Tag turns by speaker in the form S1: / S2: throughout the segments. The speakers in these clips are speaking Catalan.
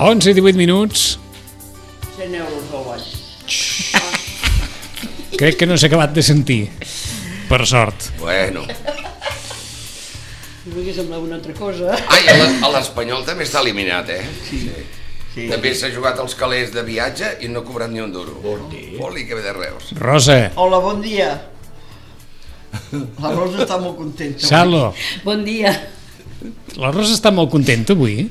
S1: A 11 i 18 minuts.
S2: 100 euros al ball.
S1: Crec que no s'ha acabat de sentir. Per sort.
S3: Bueno.
S2: No m'hagués semblat una altra cosa.
S3: Ai, a la- a l'Espanyol també està eliminat, eh? Sí. sí. També s'ha jugat als calés de viatge i no ha cobrat ni un duro. Bon dia. Oli, que ve de Reus.
S1: Rosa,
S2: Hola, bon dia. La Rosa està molt contenta.
S1: Salo,
S4: Bon dia.
S1: la Rosa està molt contenta avui.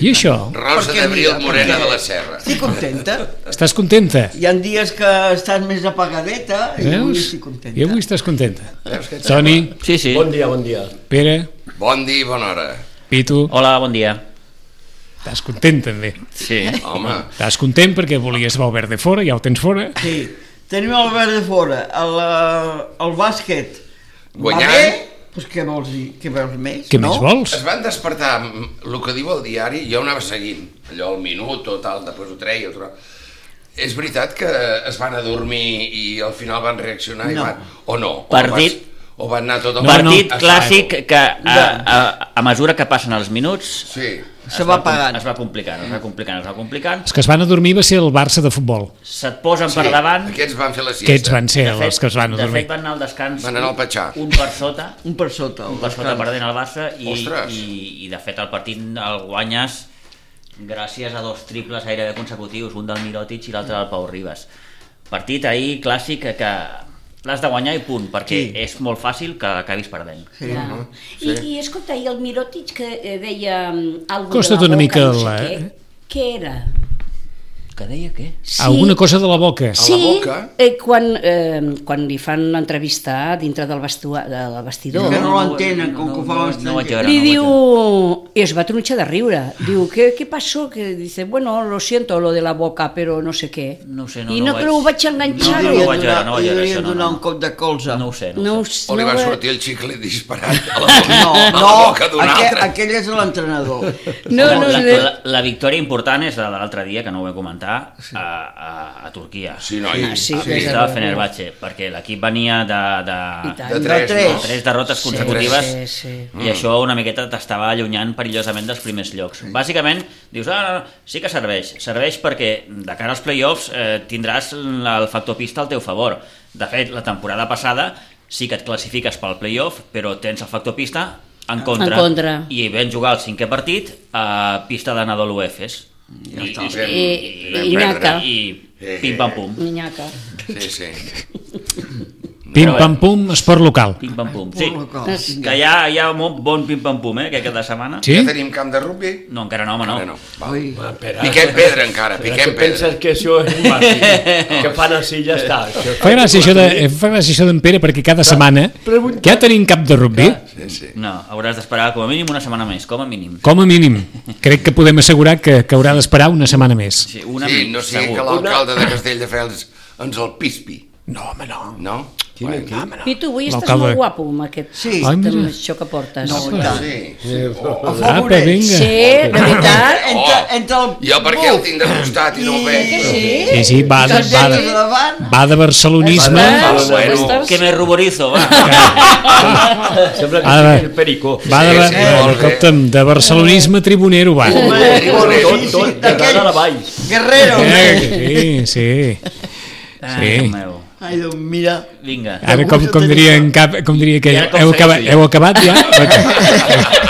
S1: I això?
S3: Rosa
S2: Perquè
S3: d'Abril
S2: mira,
S3: Morena
S2: perquè-
S3: de la Serra.
S2: Estic contenta.
S1: Estàs contenta?
S2: Hi han dies que estàs més apagadeta i avui estic contenta.
S1: I avui estàs contenta.
S3: Veus què et
S1: Toni,
S5: Sí, sí.
S6: Bon dia, bon dia.
S1: Pere,
S3: sembla? Bon dia i bona hora.
S1: Pitu,
S5: Hola, bon dia.
S1: estàs content també.
S5: Sí.
S3: Home,
S1: Estàs content perquè volies l'Albert de fora, ja el tens fora.
S2: Sí. Tenim el verd de fora, el, eh, el bàsquet.
S3: Guanyant.
S2: Va bé? Pues què vols dir? Què veus més?
S1: Què
S2: no?
S1: més vols?
S3: es van despertar amb el que diu el diari, jo anava seguint, allò al minut o tal, després ho treia, però... És veritat que es van adormir i al final van reaccionar i
S2: No.
S3: van... O no. O
S5: Partit.
S3: vas- O van anar tot el
S1: No,
S5: Partit
S1: no.
S5: clàssic que a,
S2: Ja.
S5: a, a mesura que passen els minuts
S3: Sí.
S2: Se
S5: es
S2: va
S5: com-
S2: apagant.
S5: Es va complicant, es va complicant, es va complicant.
S1: Els que es van adormir va ser el Barça de futbol.
S5: Se't posen
S3: sí.
S5: per davant.
S3: Aquests van fer la siesta.
S1: Aquests van ser
S5: De fet-
S1: els que es van
S5: De
S1: adormir.
S5: fet van anar al descans.
S3: Van anar al petxar.
S5: Un per sota,
S2: Un per sota. el
S5: un per sota
S2: descans.
S5: perdent el Barça i,
S3: Ostres.
S5: i, i de fet el partit el guanyes gràcies a dos triples gairebé consecutius, un del Mirotic i l'altre del Pau Ribas. Partit ahir clàssic que- que l'has de guanyar i punt, perquè
S2: Sí.
S5: és molt fàcil que acabis perdent.
S2: Sí.
S4: Ja. I, I escolta, i el Mirotic que eh, deia mm, alguna
S1: Costa't
S4: de la
S1: una
S4: boca,
S1: mica
S4: no sé
S1: la-
S4: què, què era?
S5: Que deia què?
S4: Sí,
S1: Alguna cosa de la boca.
S3: la
S4: Sí,
S3: boca?
S4: eh, quan, eh, quan li fan l'entrevista dintre del, bestua, del vestidor,
S2: Que no l'entenen, com que ho fa
S5: no,
S2: l'estranger.
S5: no, vaig veure,
S4: Li
S5: no,
S4: diu...
S5: vaig veure.
S4: I es va tronxar de riure. Diu, què, què passó? Que dice, bueno, lo siento, lo de la boca, però no sé què.
S5: No ho sé, no,
S4: I
S5: no
S4: no,
S5: ho
S4: que ho
S5: vaig-
S4: vaig
S5: No,
S4: enganxar.
S2: Li
S5: no ho
S2: devien
S5: vaig veure, no ho
S2: donar-
S5: vaig veure,
S2: li
S5: això,
S2: devien
S5: no,
S2: donar
S5: no.
S2: un cop de colze.
S5: No ho sé, no,
S4: no,
S5: ho
S4: ho
S5: sé.
S4: sé,
S3: O li
S4: no eh.
S3: va
S4: ho-
S3: sortir el xicle disparat a la boca,
S2: No,
S3: a la
S2: no,
S3: boca d'un
S2: aquell,
S3: altre.
S2: aquell és l'entrenador.
S4: No, no,
S5: la,
S4: no.
S5: la, la victòria important és la de l'altre dia, que no ho vam comentar, a, a, a Turquia.
S3: Sí, noi.
S4: Ah, sí,
S3: a
S4: sí,
S3: mi.
S4: sí.
S5: Estava Fenerbahçe, perquè l'equip venia de, de,
S4: I
S3: De
S4: tant.
S2: De
S3: tres,
S2: tres.
S3: no?
S5: tres derrotes consecutives
S4: Sí, sí, sí.
S5: i això una miqueta t'estava allunyant perillosament dels primers llocs. Bàsicament, dius, ah, no, no, sí que serveix. Serveix perquè de cara als play-offs eh, tindràs la- el factor pista al teu favor. De fet, la temporada passada sí que et classifiques pel play-off, però tens el factor pista en contra.
S4: En contra.
S5: I vam jugar el cinquè partit a pista de Nadal UEFs. Ja I,
S3: està.
S5: i,
S4: I,
S3: Vam
S4: i
S3: perdre.
S4: nyaca.
S5: i, i pim pam pum.
S4: Minyaca.
S3: Sí, sí.
S1: Pim, pam, pum, esport local.
S5: Pim pam pum. Sí,
S2: Sí.
S5: que hi ha, hi ha un bon pim pam pum, eh, aquesta setmana.
S1: Sí?
S3: Ja tenim camp de rugby?
S5: No, encara no, home, no.
S3: Ara no. Va.
S2: Ai,
S3: Piquem pedra encara,
S6: Què
S3: piquem pedra.
S6: penses que això és un màstic? que fan així ja està. Això
S1: Fa gràcia això de, eh, fa gràcia això d'en Pere perquè cada setmana
S6: pregunta-
S1: ja tenim cap de rugby,
S3: Sí, sí.
S5: No, hauràs d'esperar com a mínim una setmana més, com a mínim.
S1: com a mínim. Crec que podem assegurar que, que haurà d'esperar una setmana més.
S5: Sí, una
S3: sí,
S5: mi-
S3: no sigui que l'alcalde de Castelldefels ens el pispi,
S1: No, home, no.
S3: no? Bueno, home,
S4: Pitu, avui estàs
S1: L'alcalde-
S4: molt guapo amb aquest
S2: Sí.
S1: Ai, mira.
S4: amb això que portes.
S2: No, i
S3: no.
S2: tant.
S3: Sí, sí. Oh.
S1: Apa, Ah, vinga.
S4: sí, de veritat.
S2: Entre,
S3: Oh.
S2: entre el...
S3: Jo per què el tinc de costat i no ho veig?
S1: Sí, sí, va de,
S2: Doncs
S1: va de,
S2: elles davant.
S1: va de barcelonisme.
S3: Ah,
S4: Estàs-
S3: bueno.
S4: estàs-
S5: Que me ruborizo, va.
S6: sembla que
S1: A veure.
S6: sigui el Pericó.
S1: Va de, sí,
S3: Sí, sí, molt bé.
S1: sí, de barcelonisme tribunero, va.
S3: Home,
S6: Tot, tot, de dalt a la vall.
S2: Guerrero.
S1: Eh, Sí, sí.
S5: Ah,
S1: Sí.
S5: Déu meu.
S2: Ai, doncs mira.
S5: Vinga.
S1: Ara, com, com, diria, en cap, com diria que
S5: I ara com
S1: heu
S5: segueixo
S1: acabat,
S5: jo?
S1: heu acabat ja? Ok.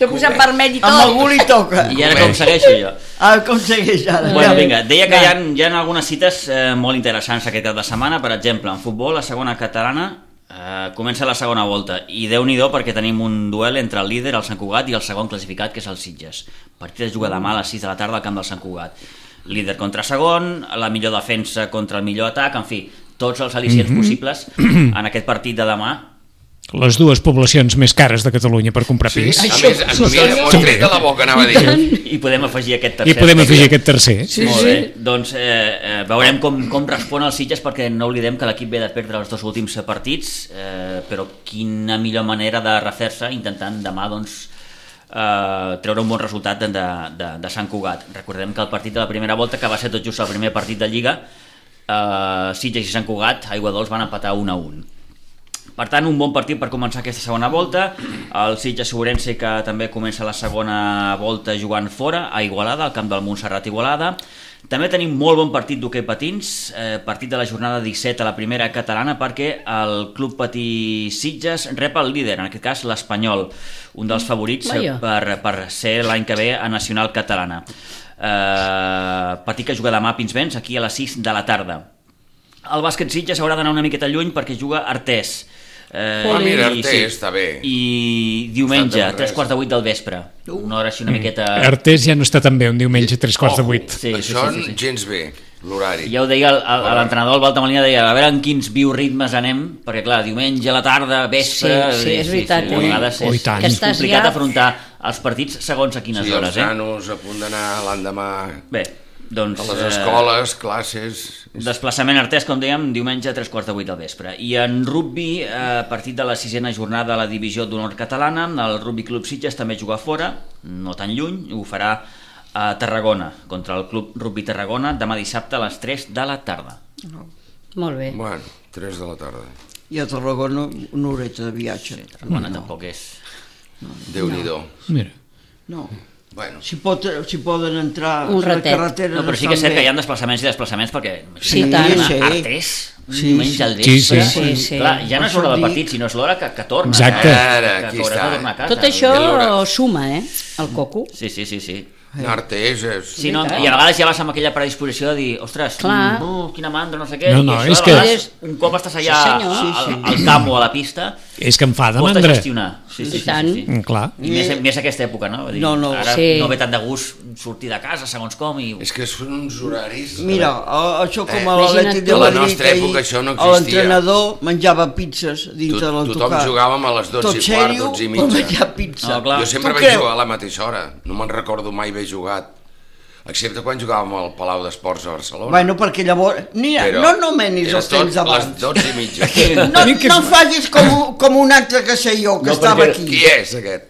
S4: S'ha posat vermell i
S2: Amb
S4: tot.
S2: algú li toca.
S5: I ara com segueixo jo?
S2: Ah, com segueix ara?
S5: Bueno, vinga, deia que hi ha, hi ha algunes cites eh, molt interessants aquest cap de setmana, per exemple, en futbol, la segona catalana eh, comença la segona volta, i déu nhi perquè tenim un duel entre el líder, el Sant Cugat, i el segon classificat, que és el Sitges. Partit es juga demà a les 6 de la tarda al camp del Sant Cugat. líder contra segon, la millor defensa contra el millor atac, en fi, tots els
S1: Mhm.
S5: al·licients possibles en aquest partit de demà.
S1: Les dues poblacions més cares de Catalunya per comprar
S3: Sí,
S1: pis.
S3: a més, ens ho havia molt tret de la boca, anava a dir.
S5: I podem afegir aquest tercer.
S1: I podem
S5: aspecte.
S1: afegir aquest tercer.
S5: Sí, Molt bé, doncs eh, eh, veurem com, com respon el Sitges perquè no oblidem que l'equip ve de perdre els dos últims partits, eh, però quina millor manera de refer-se intentant demà doncs, eh, treure un bon resultat de, de, de Sant Cugat. Recordem que el partit de la primera volta, que va ser tot just el primer partit de Lliga, eh, Sitges i Sant Cugat, Aigua Dols, van empatar 1 a 1. Per tant, un bon partit per començar aquesta segona volta. El Sitges Sobrense que també comença la segona volta jugant fora, a Igualada, al camp del Montserrat Igualada. També tenim molt bon partit d'hoquei patins, eh, partit de la jornada 17 a la primera catalana perquè el Club Patí Sitges rep el líder, en aquest cas l'Espanyol, un dels favorits eh,
S4: Vaja.
S5: per, per ser l'any que ve a Nacional Catalana. Eh, partit que juga demà a Pinsbens, aquí a les 6 de la tarda. El bàsquet Sitges haurà d'anar una miqueta lluny perquè juga Artés. Eh,
S3: Ah, mira,
S5: i-
S3: Artés, està bé.
S5: I
S3: Està Mm.
S5: diumenge,
S3: de res.
S5: 3 quarts de 8 del vespre. Una hora així una miqueta...
S1: Artés ja no està tan bé un diumenge a tres quarts de
S3: Ojo,
S1: vuit.
S5: Sí, sí,
S3: Això
S5: sí, sí, sí.
S3: gens bé, l'horari.
S5: Ja ho deia el- el- a l'entrenador, el Balta Molina, deia a veure en quins bioritmes anem, perquè clar, diumenge a la tarda, vespre...
S4: Sí, sí, és veritat,
S5: a
S4: eh?
S5: vegades
S1: Ui, ui,
S5: és,
S1: tant. Que
S5: és
S4: estàs
S5: complicat
S4: ja-
S5: afrontar els partits segons a quines
S3: Sí, els
S5: hores, eh?
S3: nanos a punt d'anar l'endemà
S5: Bé, doncs...
S3: a les
S5: eh,
S3: escoles, classes...
S5: Desplaçament Artés, com dèiem, diumenge a tres quarts de vuit del vespre. I en rugby, eh, partit de la sisena jornada a la divisió d'honor catalana, el Rugby Club Sitges també juga fora, no tan lluny, ho farà a Tarragona, contra el Club Rugby Tarragona, demà dissabte a les 3 de la tarda.
S4: Molt bé.
S3: Bueno, 3 de la tarda.
S2: I a Tarragona una horeta de viatge.
S5: Tarragona tampoc és...
S3: Déu-n'hi-do.
S1: Mira.
S2: No.
S3: Bueno,
S2: Si, pot, si poden entrar
S4: Un
S2: a la
S4: ratet.
S2: carretera
S5: No, però sí que és cert que hi ha Ah, desplaçaments i desplaçaments, perquè...
S4: Sí,
S5: imagina't,
S4: tant.
S5: anar
S2: Sí.
S5: a Artés, un
S2: Sí,
S5: diumenge al
S1: sí.
S5: vespre...
S1: Sí, sí.
S4: Sí, sí.
S5: Clar, ja no és l'hora del partit, sinó és l'hora que, que torna.
S1: Exacte.
S5: Que,
S3: Ara,
S5: que,
S3: aquí
S5: que hauràs
S3: està.
S5: de tornar a casa.
S4: Tot això
S3: ja l'hauràs.
S4: suma, eh? El coco.
S5: Sí, sí, sí, sí.
S3: Artés és...
S5: Sí, no, I a vegades ja vas amb aquella predisposició de dir, ostres,
S4: Clar.
S5: mm, uh, quina mandra, no sé què.
S1: No, no,
S5: I això de
S1: és que-
S5: vegades, Un cop estàs allà
S4: Sí,
S5: al,
S4: senyor.
S5: al, al camp o a la pista,
S1: És que em fa de
S5: costa
S1: mandra.
S5: gestionar. Sí, sí,
S4: I
S5: sí,
S4: tant.
S5: sí, sí.
S1: Mm, Clar.
S5: I més, més aquesta època, no? Vull Dir,
S2: No, no,
S5: ara
S4: sí.
S5: no ve tant de gust sortir de casa, segons com, i...
S3: És que són uns horaris...
S2: Mira, a- això com a
S4: Eh,
S2: l'Atlètic de
S4: imagina't tu.
S2: Madrid...
S3: A la nostra
S2: que ahir
S3: època això no existia.
S2: L'entrenador menjava pizzas dintre
S3: To-
S2: de l'autocar.
S3: tothom jugàvem a les 12
S2: Tot
S3: i quart,
S2: sèrio,
S3: 12 i mitja.
S2: per menjar pizza.
S5: No, clar.
S3: Jo sempre
S2: Tu
S3: vaig
S2: creus?
S3: jugar a la mateixa hora. No me'n recordo mai haver jugat. Excepte quan jugàvem al Palau d'Esports a Barcelona.
S2: Bueno, perquè llavors... Mira,
S3: Però
S2: no nomenis
S3: era
S2: els temps
S3: tot
S2: abans.
S3: Les 12 i mitja.
S2: No, no facis com, un- com un altre que sé jo, que
S6: No,
S2: estava
S6: perquè-
S2: aquí.
S3: Qui és aquest?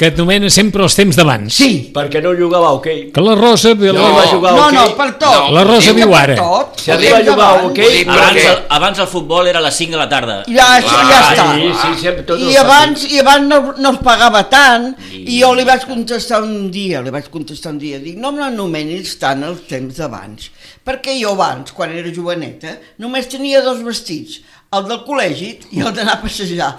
S1: Que et nomena sempre els temps d'abans.
S2: Sí.
S6: Perquè no jugava a hoquei.
S1: Que la Rosa... ve
S3: No.
S1: la-
S6: va jugar
S2: No,
S6: a
S2: no,
S6: hoquei.
S2: per tot.
S3: No, La
S1: Rosa
S2: Diu que
S1: viu
S2: per
S1: ara.
S2: tot.
S6: Si arriba a jugar a
S2: Endavant.
S6: hoquei,
S3: Però
S5: Abans,
S3: què?
S5: el, abans el futbol era a les 5 de la tarda.
S2: Ja, sí, ja
S3: Clar,
S2: està.
S6: Sí,
S3: ah.
S6: sí, sempre tots
S2: I
S6: els
S2: abans, i abans no, no es pagava tant,
S5: I-
S2: i, jo li vaig contestar un dia, li vaig contestar un dia, dic, no m'anomenis tant els temps d'abans, perquè jo abans, quan era joveneta, només tenia dos vestits, el del col·legi i el d'anar a passejar,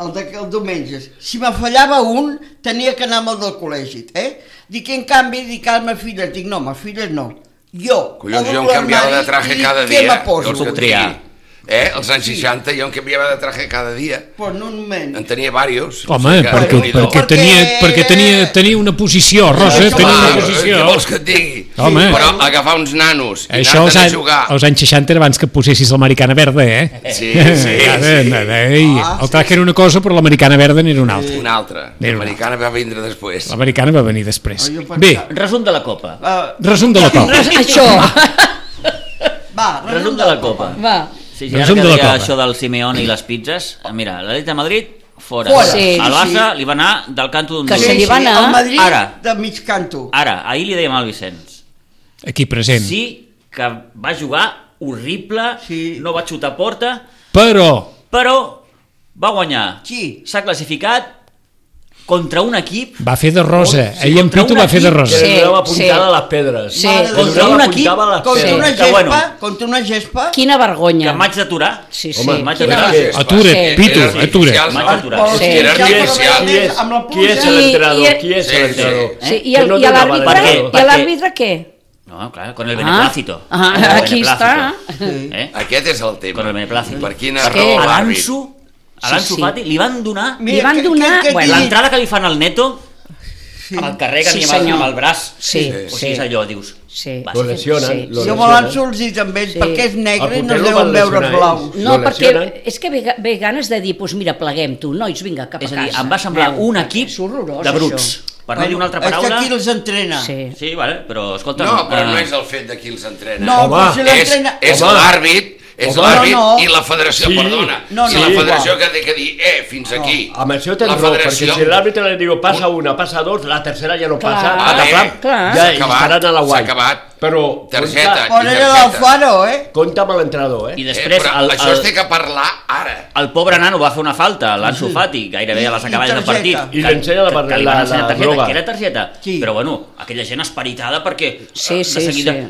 S2: el d'aquell diumenge. Si me fallava un, tenia que anar amb el del col·legi, eh? Dic, en canvi, dic, a ma filla, dic, no, ma filla no, jo.
S3: Collons, jo
S2: obro
S3: em canviava de
S2: l'armari i
S3: traje
S2: dic,
S3: cada
S2: Què
S3: dia.
S2: me poso?
S3: Jo els que
S5: Triar.
S3: tenia. Eh? Als anys 60 jo em canviava de traje cada dia.
S2: Però no només.
S3: En tenia varios.
S1: Home,
S3: O sigui que,
S1: perquè,
S3: Déu-n'hi-do.
S1: perquè, tenia, perquè tenia, tenia una posició, Rosa,
S2: Això
S1: tenia una
S2: va,
S3: Ah, eh, Què
S1: posició.
S3: vols que et digui?
S1: Home.
S3: Però agafar uns nanos i
S1: Això als,
S3: anar-te'n a
S1: any,
S3: jugar...
S1: als anys 60 era abans que posessis l'americana verda, eh?
S3: Sí, sí,
S1: Ara,
S3: sí.
S1: ara, Ei,
S2: Ah,
S1: el traje era una cosa, però l'americana verda n'era una altra.
S3: Una altra.
S1: Era una
S3: L'americana va vindre després.
S1: L'americana va venir després.
S2: Ah, jo pensava-
S1: Bé,
S5: Resum de la Copa.
S2: Ah,
S1: resum de la Copa.
S4: Això,
S2: va,
S5: Resum de la Copa.
S4: va.
S5: Sí, sí, ara
S1: Resum
S5: que
S1: de la
S5: deia
S1: Copa.
S5: això del Simeone i les pizzas, eh, mira, l'Atlètic de Madrid, fora.
S2: Fora.
S4: Sí,
S5: el Barça li va anar del canto d'un
S4: Que
S5: duro.
S4: se li va anar.
S2: el Madrid
S5: Ara.
S2: de mig canto.
S5: Ara, ahir li dèiem al Vicenç,
S1: Aquí present.
S5: sí que va jugar horrible,
S2: Sí.
S5: no va xutar a porta,
S1: Però,
S5: però va guanyar.
S2: Qui?
S5: S'ha classificat contra un equip
S1: va fer de rosa.
S5: Sí,
S1: Ahir en
S5: contra
S1: Pitu
S5: un
S1: va fer de
S5: equip
S1: rosa.
S6: Que
S4: Sí,
S6: li donava
S4: sí.
S6: puntada a les pedres.
S4: Sí.
S6: Que li
S2: Contra
S6: donava
S5: un
S6: puntada a les
S2: Contra
S5: Sí,
S6: pedres.
S2: una
S5: que
S2: gespa,
S5: bueno.
S2: contra una gespa,
S4: Quina vergonya.
S5: que m'haig d'aturar.
S4: Sí, sí.
S6: Home,
S5: M'haig
S6: quina
S5: d'aturar.
S6: gràcia.
S1: Atura't,
S4: Sí.
S1: Pitu,
S3: Era
S1: atura't.
S3: artificial,
S5: M'haig
S3: no?
S5: d'aturar.
S4: Sí.
S3: Era
S2: Ja
S3: artificial.
S6: Qui és,
S2: Amb la
S6: qui és
S4: pluja. I-
S6: l'entrenador?
S4: i-
S6: Qui és
S3: Sí, sí.
S6: l'entrenador? Eh?
S4: Sí,
S5: eh?
S4: I,
S6: Que
S4: el,
S6: no
S4: i a
S6: donava
S4: l'àrbitre
S6: l'entrenador.
S4: i a
S5: Perquè-
S4: l'àrbitre què?
S5: No, clar, con el beneplácito.
S4: Ah,
S5: Con el
S4: aquí està.
S5: beneplácito. Eh?
S3: Aquest és el tema.
S5: Con el beneplácito.
S3: Per quina
S4: És que
S3: raó
S5: A
S3: l'àrbit?
S5: l'Anso, a l'Anso
S4: Sí, sí.
S5: Fati, li van donar...
S4: Li van
S2: que-
S4: donar-
S2: que- que-
S4: Bueno,
S2: que-
S5: L'entrada que li fan al Neto
S2: Sí.
S5: amb el carrer que
S4: Sí,
S5: sí, amb, el-
S4: senyor.
S5: amb el braç.
S4: Sí,
S5: o
S4: sí.
S5: sigui, és allò, dius...
S4: Sí.
S5: va,
S6: Lo
S5: sí,
S6: lesionan,
S4: sí,
S6: lo
S4: sí.
S2: Jo
S6: lesionan.
S2: me l'ensults i també
S4: Sí.
S2: perquè és negre i no es
S6: Apunteu-lo
S2: deuen
S6: pel
S2: veure els
S6: lesionar
S2: blaus.
S6: ells.
S4: No,
S6: Lo
S4: perquè
S6: lesionen.
S4: és que ve, ga- ve ganes de dir, doncs mira, pleguem tu, nois, vinga, cap a
S5: És a
S4: casa.
S5: dir, em va semblar
S4: Aneu.
S5: un equip
S4: És horrorós,
S5: de bruts. Per no dir una altra
S2: És que
S5: paraula...
S2: aquí els entrena.
S4: Sí.
S5: Sí, vale, però escolta...
S3: No, però no
S5: eh,
S3: és el fet de qui els entrena.
S2: No,
S6: Home,
S2: però si
S3: és,
S2: l'entrena...
S3: és
S6: Home.
S3: l'àrbit, és
S6: Home.
S3: l'àrbit
S2: No, no.
S3: i la federació,
S6: Sí.
S3: perdona,
S2: No,
S3: i
S2: no,
S3: la
S6: sí,
S3: federació
S2: igual.
S3: que ha de que dir, eh, fins aquí.
S6: Amb això tens
S3: la
S6: raó,
S3: federació...
S6: perquè si l'àrbitre li diu passa una, passa dos, la tercera ja no
S4: Clar.
S6: passa,
S4: Ah,
S6: atapam,
S3: eh,
S4: clar.
S6: ja
S3: s'ha acabat,
S6: estaran a la guai.
S3: s'ha acabat.
S6: Però
S3: Targeta.
S6: compte,
S2: Però era l'Alfaro, eh?
S6: compte amb l'entrenador, eh?
S3: Eh,
S5: I després...
S3: però
S5: el,
S3: això
S5: el,
S3: es té que parlar ara.
S5: el pobre nano va fer una falta, l'Anso Fati, gairebé a les
S2: I- i
S5: acaballes del partit.
S2: targeta.
S6: I
S5: que-
S6: li ensenya la
S5: que- que li
S6: barre- la-
S5: van ensenyar
S6: la
S5: targeta,
S6: droga.
S5: Que era targeta.
S2: Sí.
S5: Però bueno, aquella gent esperitada perquè eh,
S4: Sí,
S5: de
S4: sí,
S5: seguida...
S4: sí.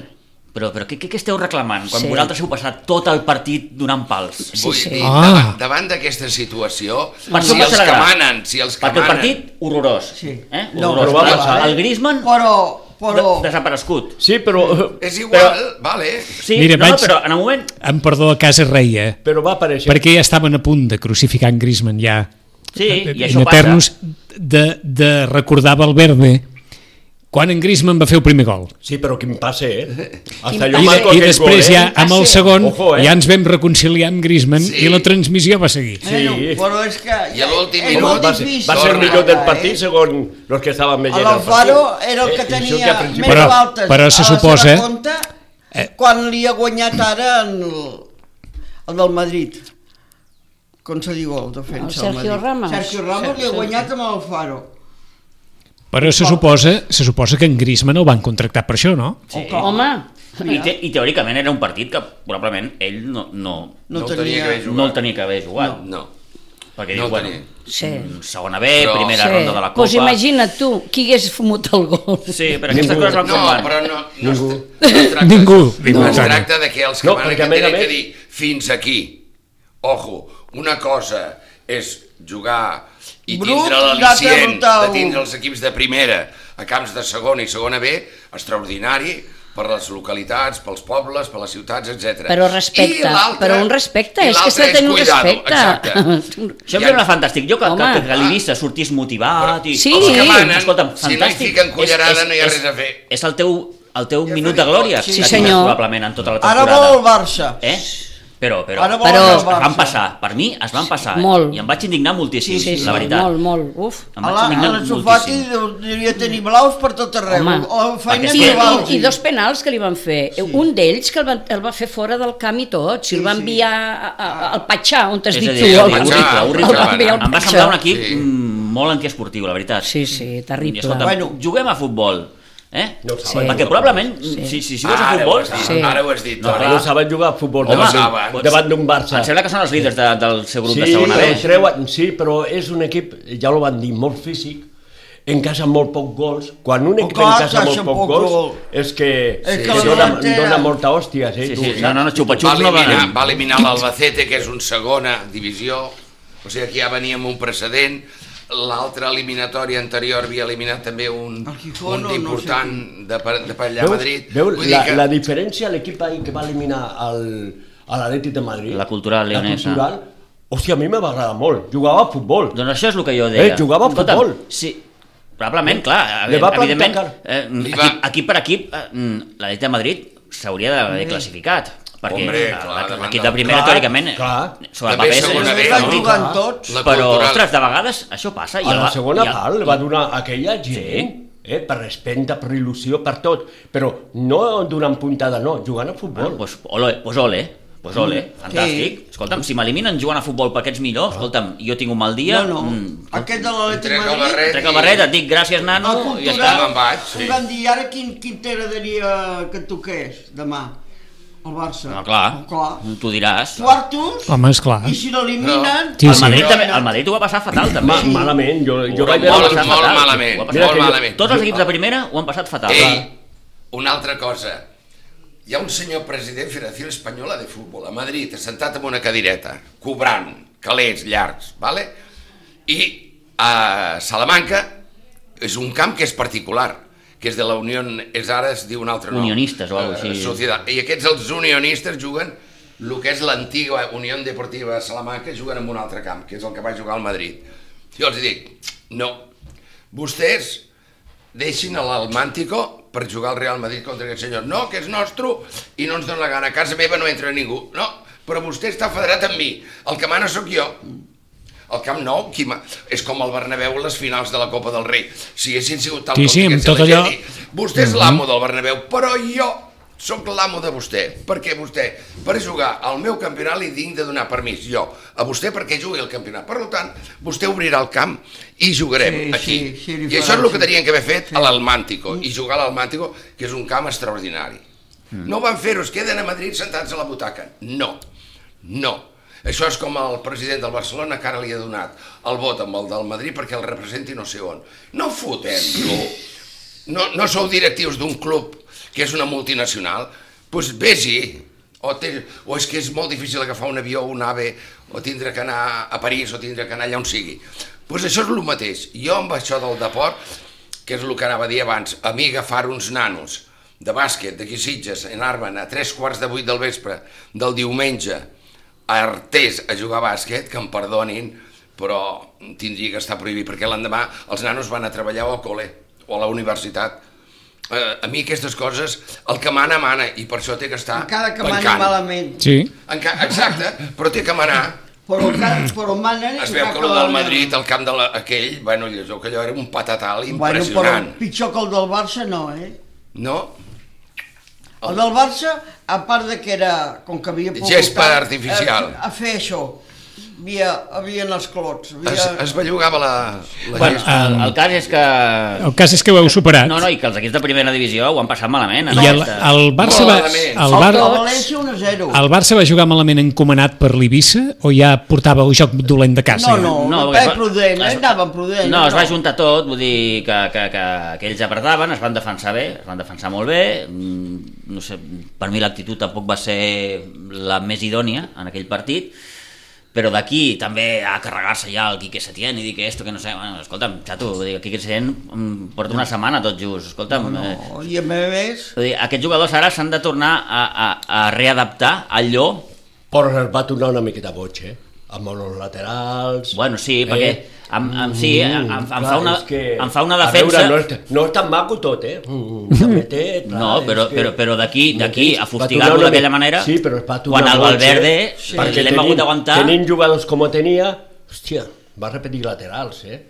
S5: Però, però què, què, què esteu reclamant quan
S4: Sí.
S5: vosaltres heu passat tot el partit donant pals?
S4: Sí,
S3: Vull
S4: sí.
S3: dir,
S1: Ah.
S3: davant- davant d'aquesta situació,
S5: Per
S3: si
S5: això
S3: els que
S5: passarà.
S3: manen, si els que
S5: Perquè el
S3: manen...
S5: partit, horrorós.
S2: Sí.
S5: Eh?
S2: No,
S5: horrorós.
S6: però va passar,
S5: el,
S6: eh?
S5: el Griezmann,
S2: Però, però...
S5: de- desaparegut.
S6: Sí, però...
S3: Mm, És igual, vale.
S5: Sí,
S1: Mira,
S5: no,
S1: vaig-
S5: però en el moment...
S1: Em perdó a casa reia,
S6: Però, però va aparèixer.
S1: perquè ja estaven a punt de crucificar en Griezmann ja.
S5: Sí, i
S1: en
S5: això
S1: Eternus
S5: passa.
S1: de, de recordar Valverde quan en Griezmann va fer el primer gol.
S6: Sí, però quin passe, eh?
S4: Quin
S6: Hasta jo
S1: I, de,
S6: marco
S1: i
S6: aquell
S1: després
S6: gol, eh?
S1: ja amb el segon
S6: Ojo, eh?
S1: ja ens vam reconciliar amb Griezmann
S3: Sí.
S1: i la transmissió va seguir.
S2: Bueno,
S6: Sí.
S2: però és que...
S3: I a l'últim
S2: és
S3: minut
S2: molt
S6: va, ser,
S2: difícil.
S6: va ser el
S3: Torna.
S6: millor del
S2: Eh?
S6: partit, segons els que estaven veient el partit.
S2: L'Alfaro era el que
S6: Eh, això
S2: tenia
S6: a
S2: més
S6: principi-
S1: Però-
S2: faltes
S1: però se
S2: a la
S1: suposa-
S2: seva compte
S1: Eh.
S2: quan li ha guanyat ara en el, el del Madrid. Com se diu el defensa?
S4: El Sergio
S2: Madrid?
S4: Ramos.
S2: Sergio Ramos li ha
S4: Sergio.
S2: guanyat amb l'Alfaro.
S1: Però se suposa, se suposa que en Griezmann el van contractar per això, no?
S4: Sí. Home,
S5: I, te, I teòricament era un partit que probablement ell no, no,
S3: No, ho tenia que haver
S5: no el
S3: jugat.
S5: tenia que haver jugat.
S3: No. No
S5: Perquè diu,
S3: el
S5: bueno,
S3: tenia.
S4: sí.
S5: mm, segona B,
S3: Però-
S5: primera
S4: sí.
S5: ronda de la Copa...
S4: Pues imagina't tu, qui hagués fumut el gol.
S5: Sí, però aquestes coses no,
S3: No,
S5: com
S3: però
S5: van.
S3: no, no
S6: Ningú.
S3: es- no es tracta-
S1: Ningú, ningú,
S3: No es
S1: Toni.
S3: tracta de que els que
S6: No,
S3: van
S6: perquè
S3: que
S6: a més a
S3: tenen que
S6: més-
S3: dir fins aquí. Ojo, una cosa és jugar i
S2: Brut,
S3: tindre
S2: l'altra
S3: l'al·licient
S2: brutal.
S3: de tindre els equips de primera a camps de segona i segona B, extraordinari per les localitats, pels pobles, per les ciutats, etc.
S4: Però respecte, però un respecte, és que s'ha de tenir un respecte.
S3: Exacte.
S5: Això em
S3: Ja-
S5: sembla fantàstic. Jo que, que,
S4: Home.
S5: que, que l'Ibiza sortís motivat i...
S4: Sí.
S3: Els que manen,
S5: Escolta'm,
S3: si no hi
S5: fantàstic.
S3: fiquen cullerada,
S5: És- és-
S3: no hi ha
S5: és-
S3: res a fer.
S5: És el teu, el teu
S3: Ja
S5: minut
S3: t'ho
S5: de
S3: dic
S5: glòria.
S3: tot.
S5: que
S4: Sí,
S5: tindràs
S4: senyor.
S5: Probablement en tota la
S2: Ara
S5: temporada.
S2: vol el Barça.
S5: Eh? Però, però,
S2: Ara vol
S4: Però-
S2: el
S5: es van
S2: Barça.
S5: passar, per mi es van passar. eh?
S4: Molt.
S5: I em vaig indignar moltíssim,
S4: sí, sí,
S5: la veritat.
S4: molt, molt, uf.
S5: Em
S2: A
S5: vaig
S2: la, a
S5: indignar
S2: la Sufati
S5: moltíssim.
S2: devia tenir blaus per tot arreu.
S4: Home.
S2: o feina
S5: Perquè
S4: I,
S5: sí,
S2: ni
S5: que-
S2: blaus.
S4: i, I dos penals que li van fer. Sí. Un d'ells que el, van, el va fer fora del camp i tot.
S2: Sí,
S4: Si el va
S2: sí. Ah.
S4: enviar a, a, a- al Patxà, on t'has
S5: És
S4: dit
S5: a
S4: tu.
S5: dir,
S4: el-
S5: horrible,
S3: Patxà,
S5: horrible.
S4: El va enviar al
S5: Em va
S4: Patxà.
S5: semblar un equip
S3: Sí.
S5: mm, molt antiesportiu, la veritat.
S4: Sí, sí, terrible.
S5: I escolta,
S2: Bueno.
S5: bueno, juguem a futbol. Eh?
S6: No ho Ah,
S4: Sí.
S6: saben.
S5: Perquè probablement, si, si, si jugues a
S3: Ara ho
S5: futbol,
S3: has dit,
S4: Sí.
S3: Ara ho has dit,
S5: No,
S3: Toni.
S6: No saben jugar a futbol
S5: Home,
S6: davant,
S3: saben.
S6: d'un- davant d'un Barça.
S5: em sembla que són els líders de, del seu grup
S6: Sí,
S5: de segona B.
S6: el treuen, sí, però és un equip, ja ho van dir, molt físic, encasa molt poc gols. Quan un equip
S2: Oh, clar,
S6: encasa molt
S2: encaixa
S6: poc
S2: poc
S6: gols,
S2: gol.
S6: és que,
S2: És
S6: sí.
S2: que la
S6: dona,
S2: davantera-
S6: dona molta hòstia. Sí,
S5: Sí,
S6: tu,
S5: sí,
S6: saps?
S5: no, no, no,
S3: va
S5: xupa-xups no van
S3: eliminar, va
S5: anar.
S3: eliminar l'Albacete, que és un segona divisió, o sigui, aquí ja venia amb un precedent, l'altra eliminatòria anterior havia eliminat també un,
S2: El Gijón,
S3: un
S2: no, no
S3: d'important de, per, de per allà a
S6: Veus,
S3: Madrid.
S6: veus
S3: Vull
S6: la,
S3: dir que
S6: la diferència a l'equip ahir que va eliminar el, a l'Atlètic de Madrid?
S5: La cultural leonesa.
S6: La cultural, hòstia, a mi me va agradar molt. Jugava a futbol.
S5: Doncs això és el que jo deia.
S6: Eh, jugava a
S5: Escolta'm,
S6: futbol.
S5: Sí, probablement, clar,
S6: Le va
S5: evi- evidentment,
S6: plantar
S5: eh,
S3: Li va-
S5: equip, equip per equip, eh, mm, l'Atlètic de Madrid s'hauria d'haver classificat. Perquè
S3: Hombre,
S5: eh,
S3: clar, davant
S5: l'equip de
S3: del-
S5: primera,
S6: Clar,
S5: teòricament, eh,
S6: clar.
S5: sobre el
S3: També
S5: paper... és-
S3: segona
S5: és
S3: B,
S5: favorit.
S3: no?
S2: jugant tots.
S3: La
S5: Però,
S3: cultural.
S5: ostres, de vegades això passa. i
S6: a
S5: el
S6: la
S5: va-
S6: segona
S5: i el-
S6: part
S5: i-
S6: li va donar aquella gent, eh, per respecte, per il·lusió, per tot, però no donant puntada, no, jugant a futbol.
S5: Bueno, pues, ole, pues ole, pues ole, fantàstic.
S2: Sí.
S5: Escolta'm, si m'eliminen jugant a futbol per aquests millor, escolta'm, jo tinc un mal dia,
S2: No, no.
S5: mm,
S2: Aquest de l'Atlètic
S3: Trec el
S2: Madrid...
S3: barret.
S5: trec el barret, et dic gràcies, nano,
S2: El
S5: i ja
S2: cultural,
S5: està.
S3: me'n vaig, sí.
S2: em van dir, ara quin, quin t'agradaria que toqués demà? El Barça.
S5: No, clar,
S2: Oh, clar.
S5: tu diràs.
S2: Quartos,
S1: Home, esclar.
S2: i si l'eliminen...
S3: No.
S1: Sí,
S5: El
S1: sí.
S5: Madrid, també, el Madrid ho va passar fatal, també.
S6: Ma malament, jo, jo
S3: Però
S6: vaig
S5: Ho va
S6: veure...
S3: molt,
S5: passar
S3: molt
S5: fatal.
S3: malament,
S5: Ho va
S6: molt
S5: passar fatal.
S3: malament.
S5: Tots els equips de primera ho han passat fatal.
S3: Ei, una altra cosa. Hi ha un senyor president de Federació Espanyola de Futbol a Madrid, assentat en una cadireta, cobrant calés llargs, vale? i a Salamanca és un camp que és particular, que és de la Unió, és ara es diu un altre nom.
S5: Unionistes o alguna cosa així.
S3: Eh, Societat. I aquests, els unionistes, juguen el que és l'antiga Unió Deportiva de Salamanca, juguen en un altre camp, que és el que va jugar al Madrid. Jo els dic, no, vostès deixin a l'Almàntico per jugar al Real Madrid contra aquest senyor. No, que és nostre i no ens dona la gana. A casa meva no entra ningú. No, però vostè està federat amb mi. El que mana sóc jo. El Camp Nou qui ma... és com el Bernabéu a les finals de la Copa del Rei. Si haguessin sigut tal
S1: Sí, sí, amb
S3: que
S1: tot allò-
S3: Vostè és l'amo del Bernabéu, però jo sóc l'amo de vostè, perquè vostè, per jugar al meu campionat, li tinc de donar permís, jo, a vostè perquè jugui al campionat. Per tant, vostè obrirà el camp i jugarem
S2: Sí,
S3: aquí.
S2: sí, sí,
S3: I
S2: li farà,
S3: això és el que
S2: sí.
S3: tenien que haver fet a l'Almàntico, i jugar a l'Almàntico, que és un camp extraordinari.
S2: Mm.
S3: No van fer-ho, es queden a Madrid sentats a la butaca. No, no. Això és com el president del Barcelona que ara li ha donat el vot amb el del Madrid perquè el representi no sé on. No fotem-lo. No, no sou directius d'un club que és una multinacional? Doncs pues vés-hi. O, té, o és que és molt difícil agafar un avió o un ave, o tindre que anar a París, o tindre que anar allà on sigui. Doncs pues això és el mateix. Jo amb això del deport, que és el que anava a dir abans, a mi agafar uns nanos de bàsquet d'aquí a Sitges, anar-me'n a tres quarts de vuit del vespre del diumenge a Artés a jugar a bàsquet, que em perdonin, però tindria que estar prohibit, perquè l'endemà els nanos van a treballar o al col·le o a la universitat. Eh, a mi aquestes coses, el que mana, mana, i per això té que estar
S2: Encara que mani
S3: pencant.
S2: malament.
S1: Sí.
S3: Enca exacte, però té que manar.
S2: Però, encara, però manen...
S3: Es veu que el del Madrid, el camp de la, aquell, bueno, i es veu que allò era un patatal
S2: Bueno, però
S3: impressionant.
S2: pitjor que el del Barça no, eh?
S3: No?
S2: El del Barça, a part de que era, com que havia
S3: Oh. Gespa
S2: tant,
S3: artificial.
S2: A, a fer això, havia, havien els clots. Havia...
S3: Es, es bellugava la, la
S5: Bueno, ah,
S3: gespa.
S5: el, el cas és que...
S1: El cas és que ho heu superat.
S5: No, no, i que els equips de primera divisió ho han passat malament. en
S1: I el,
S5: aquesta.
S1: el Barça va...
S3: Malament.
S1: El,
S2: El del
S1: Bar,
S2: València 1 0.
S1: el Barça va jugar malament encomanat per l'Ibissa o ja portava un joc dolent de casa?
S2: No, no, no,
S5: perquè es
S2: no
S5: va-
S2: prudent, eh?
S5: es-
S2: anàvem prudent.
S5: No, es va juntar tot, vull dir que, que, que, que ells apartaven, es van defensar bé, es van defensar molt bé, mm, no sé, per mi l'actitud tampoc va ser la més idònia en aquell partit, però d'aquí també a carregar-se ja el Quique Setién i dir que esto, que no sé, bueno, escolta'm, xato, vull dir, el Quique Setién mm, porta una setmana tot just, escolta'm, no, no.
S2: No, I a més,
S5: Vull dir, aquests jugadors ara s'han de tornar a, a, a readaptar a allò...
S6: Però es va tornar una miqueta boig, eh? Amb els laterals... eh. Mm,
S5: Bueno, sí, perquè... Em, em, sí, em, em, fa una,
S6: és que-
S5: em fa una
S6: a
S5: defensa...
S6: Veure, no, és, no és tan maco tot, eh? Mm, també té, clar,
S5: No, però,
S6: és que-
S5: però, però d'aquí d'aquí a
S6: Va
S5: fustigar-lo
S6: tornar una
S5: d'aquella
S6: mica-
S5: manera,
S6: Sí, però es va tornar
S5: quan el
S6: boig,
S5: Valverde
S6: eh?
S5: sí.
S6: Perquè
S5: l'hem
S6: tenint-
S5: hagut d'aguantar...
S6: Tenint jugadors com ho tenia, hòstia, va repetir laterals, eh?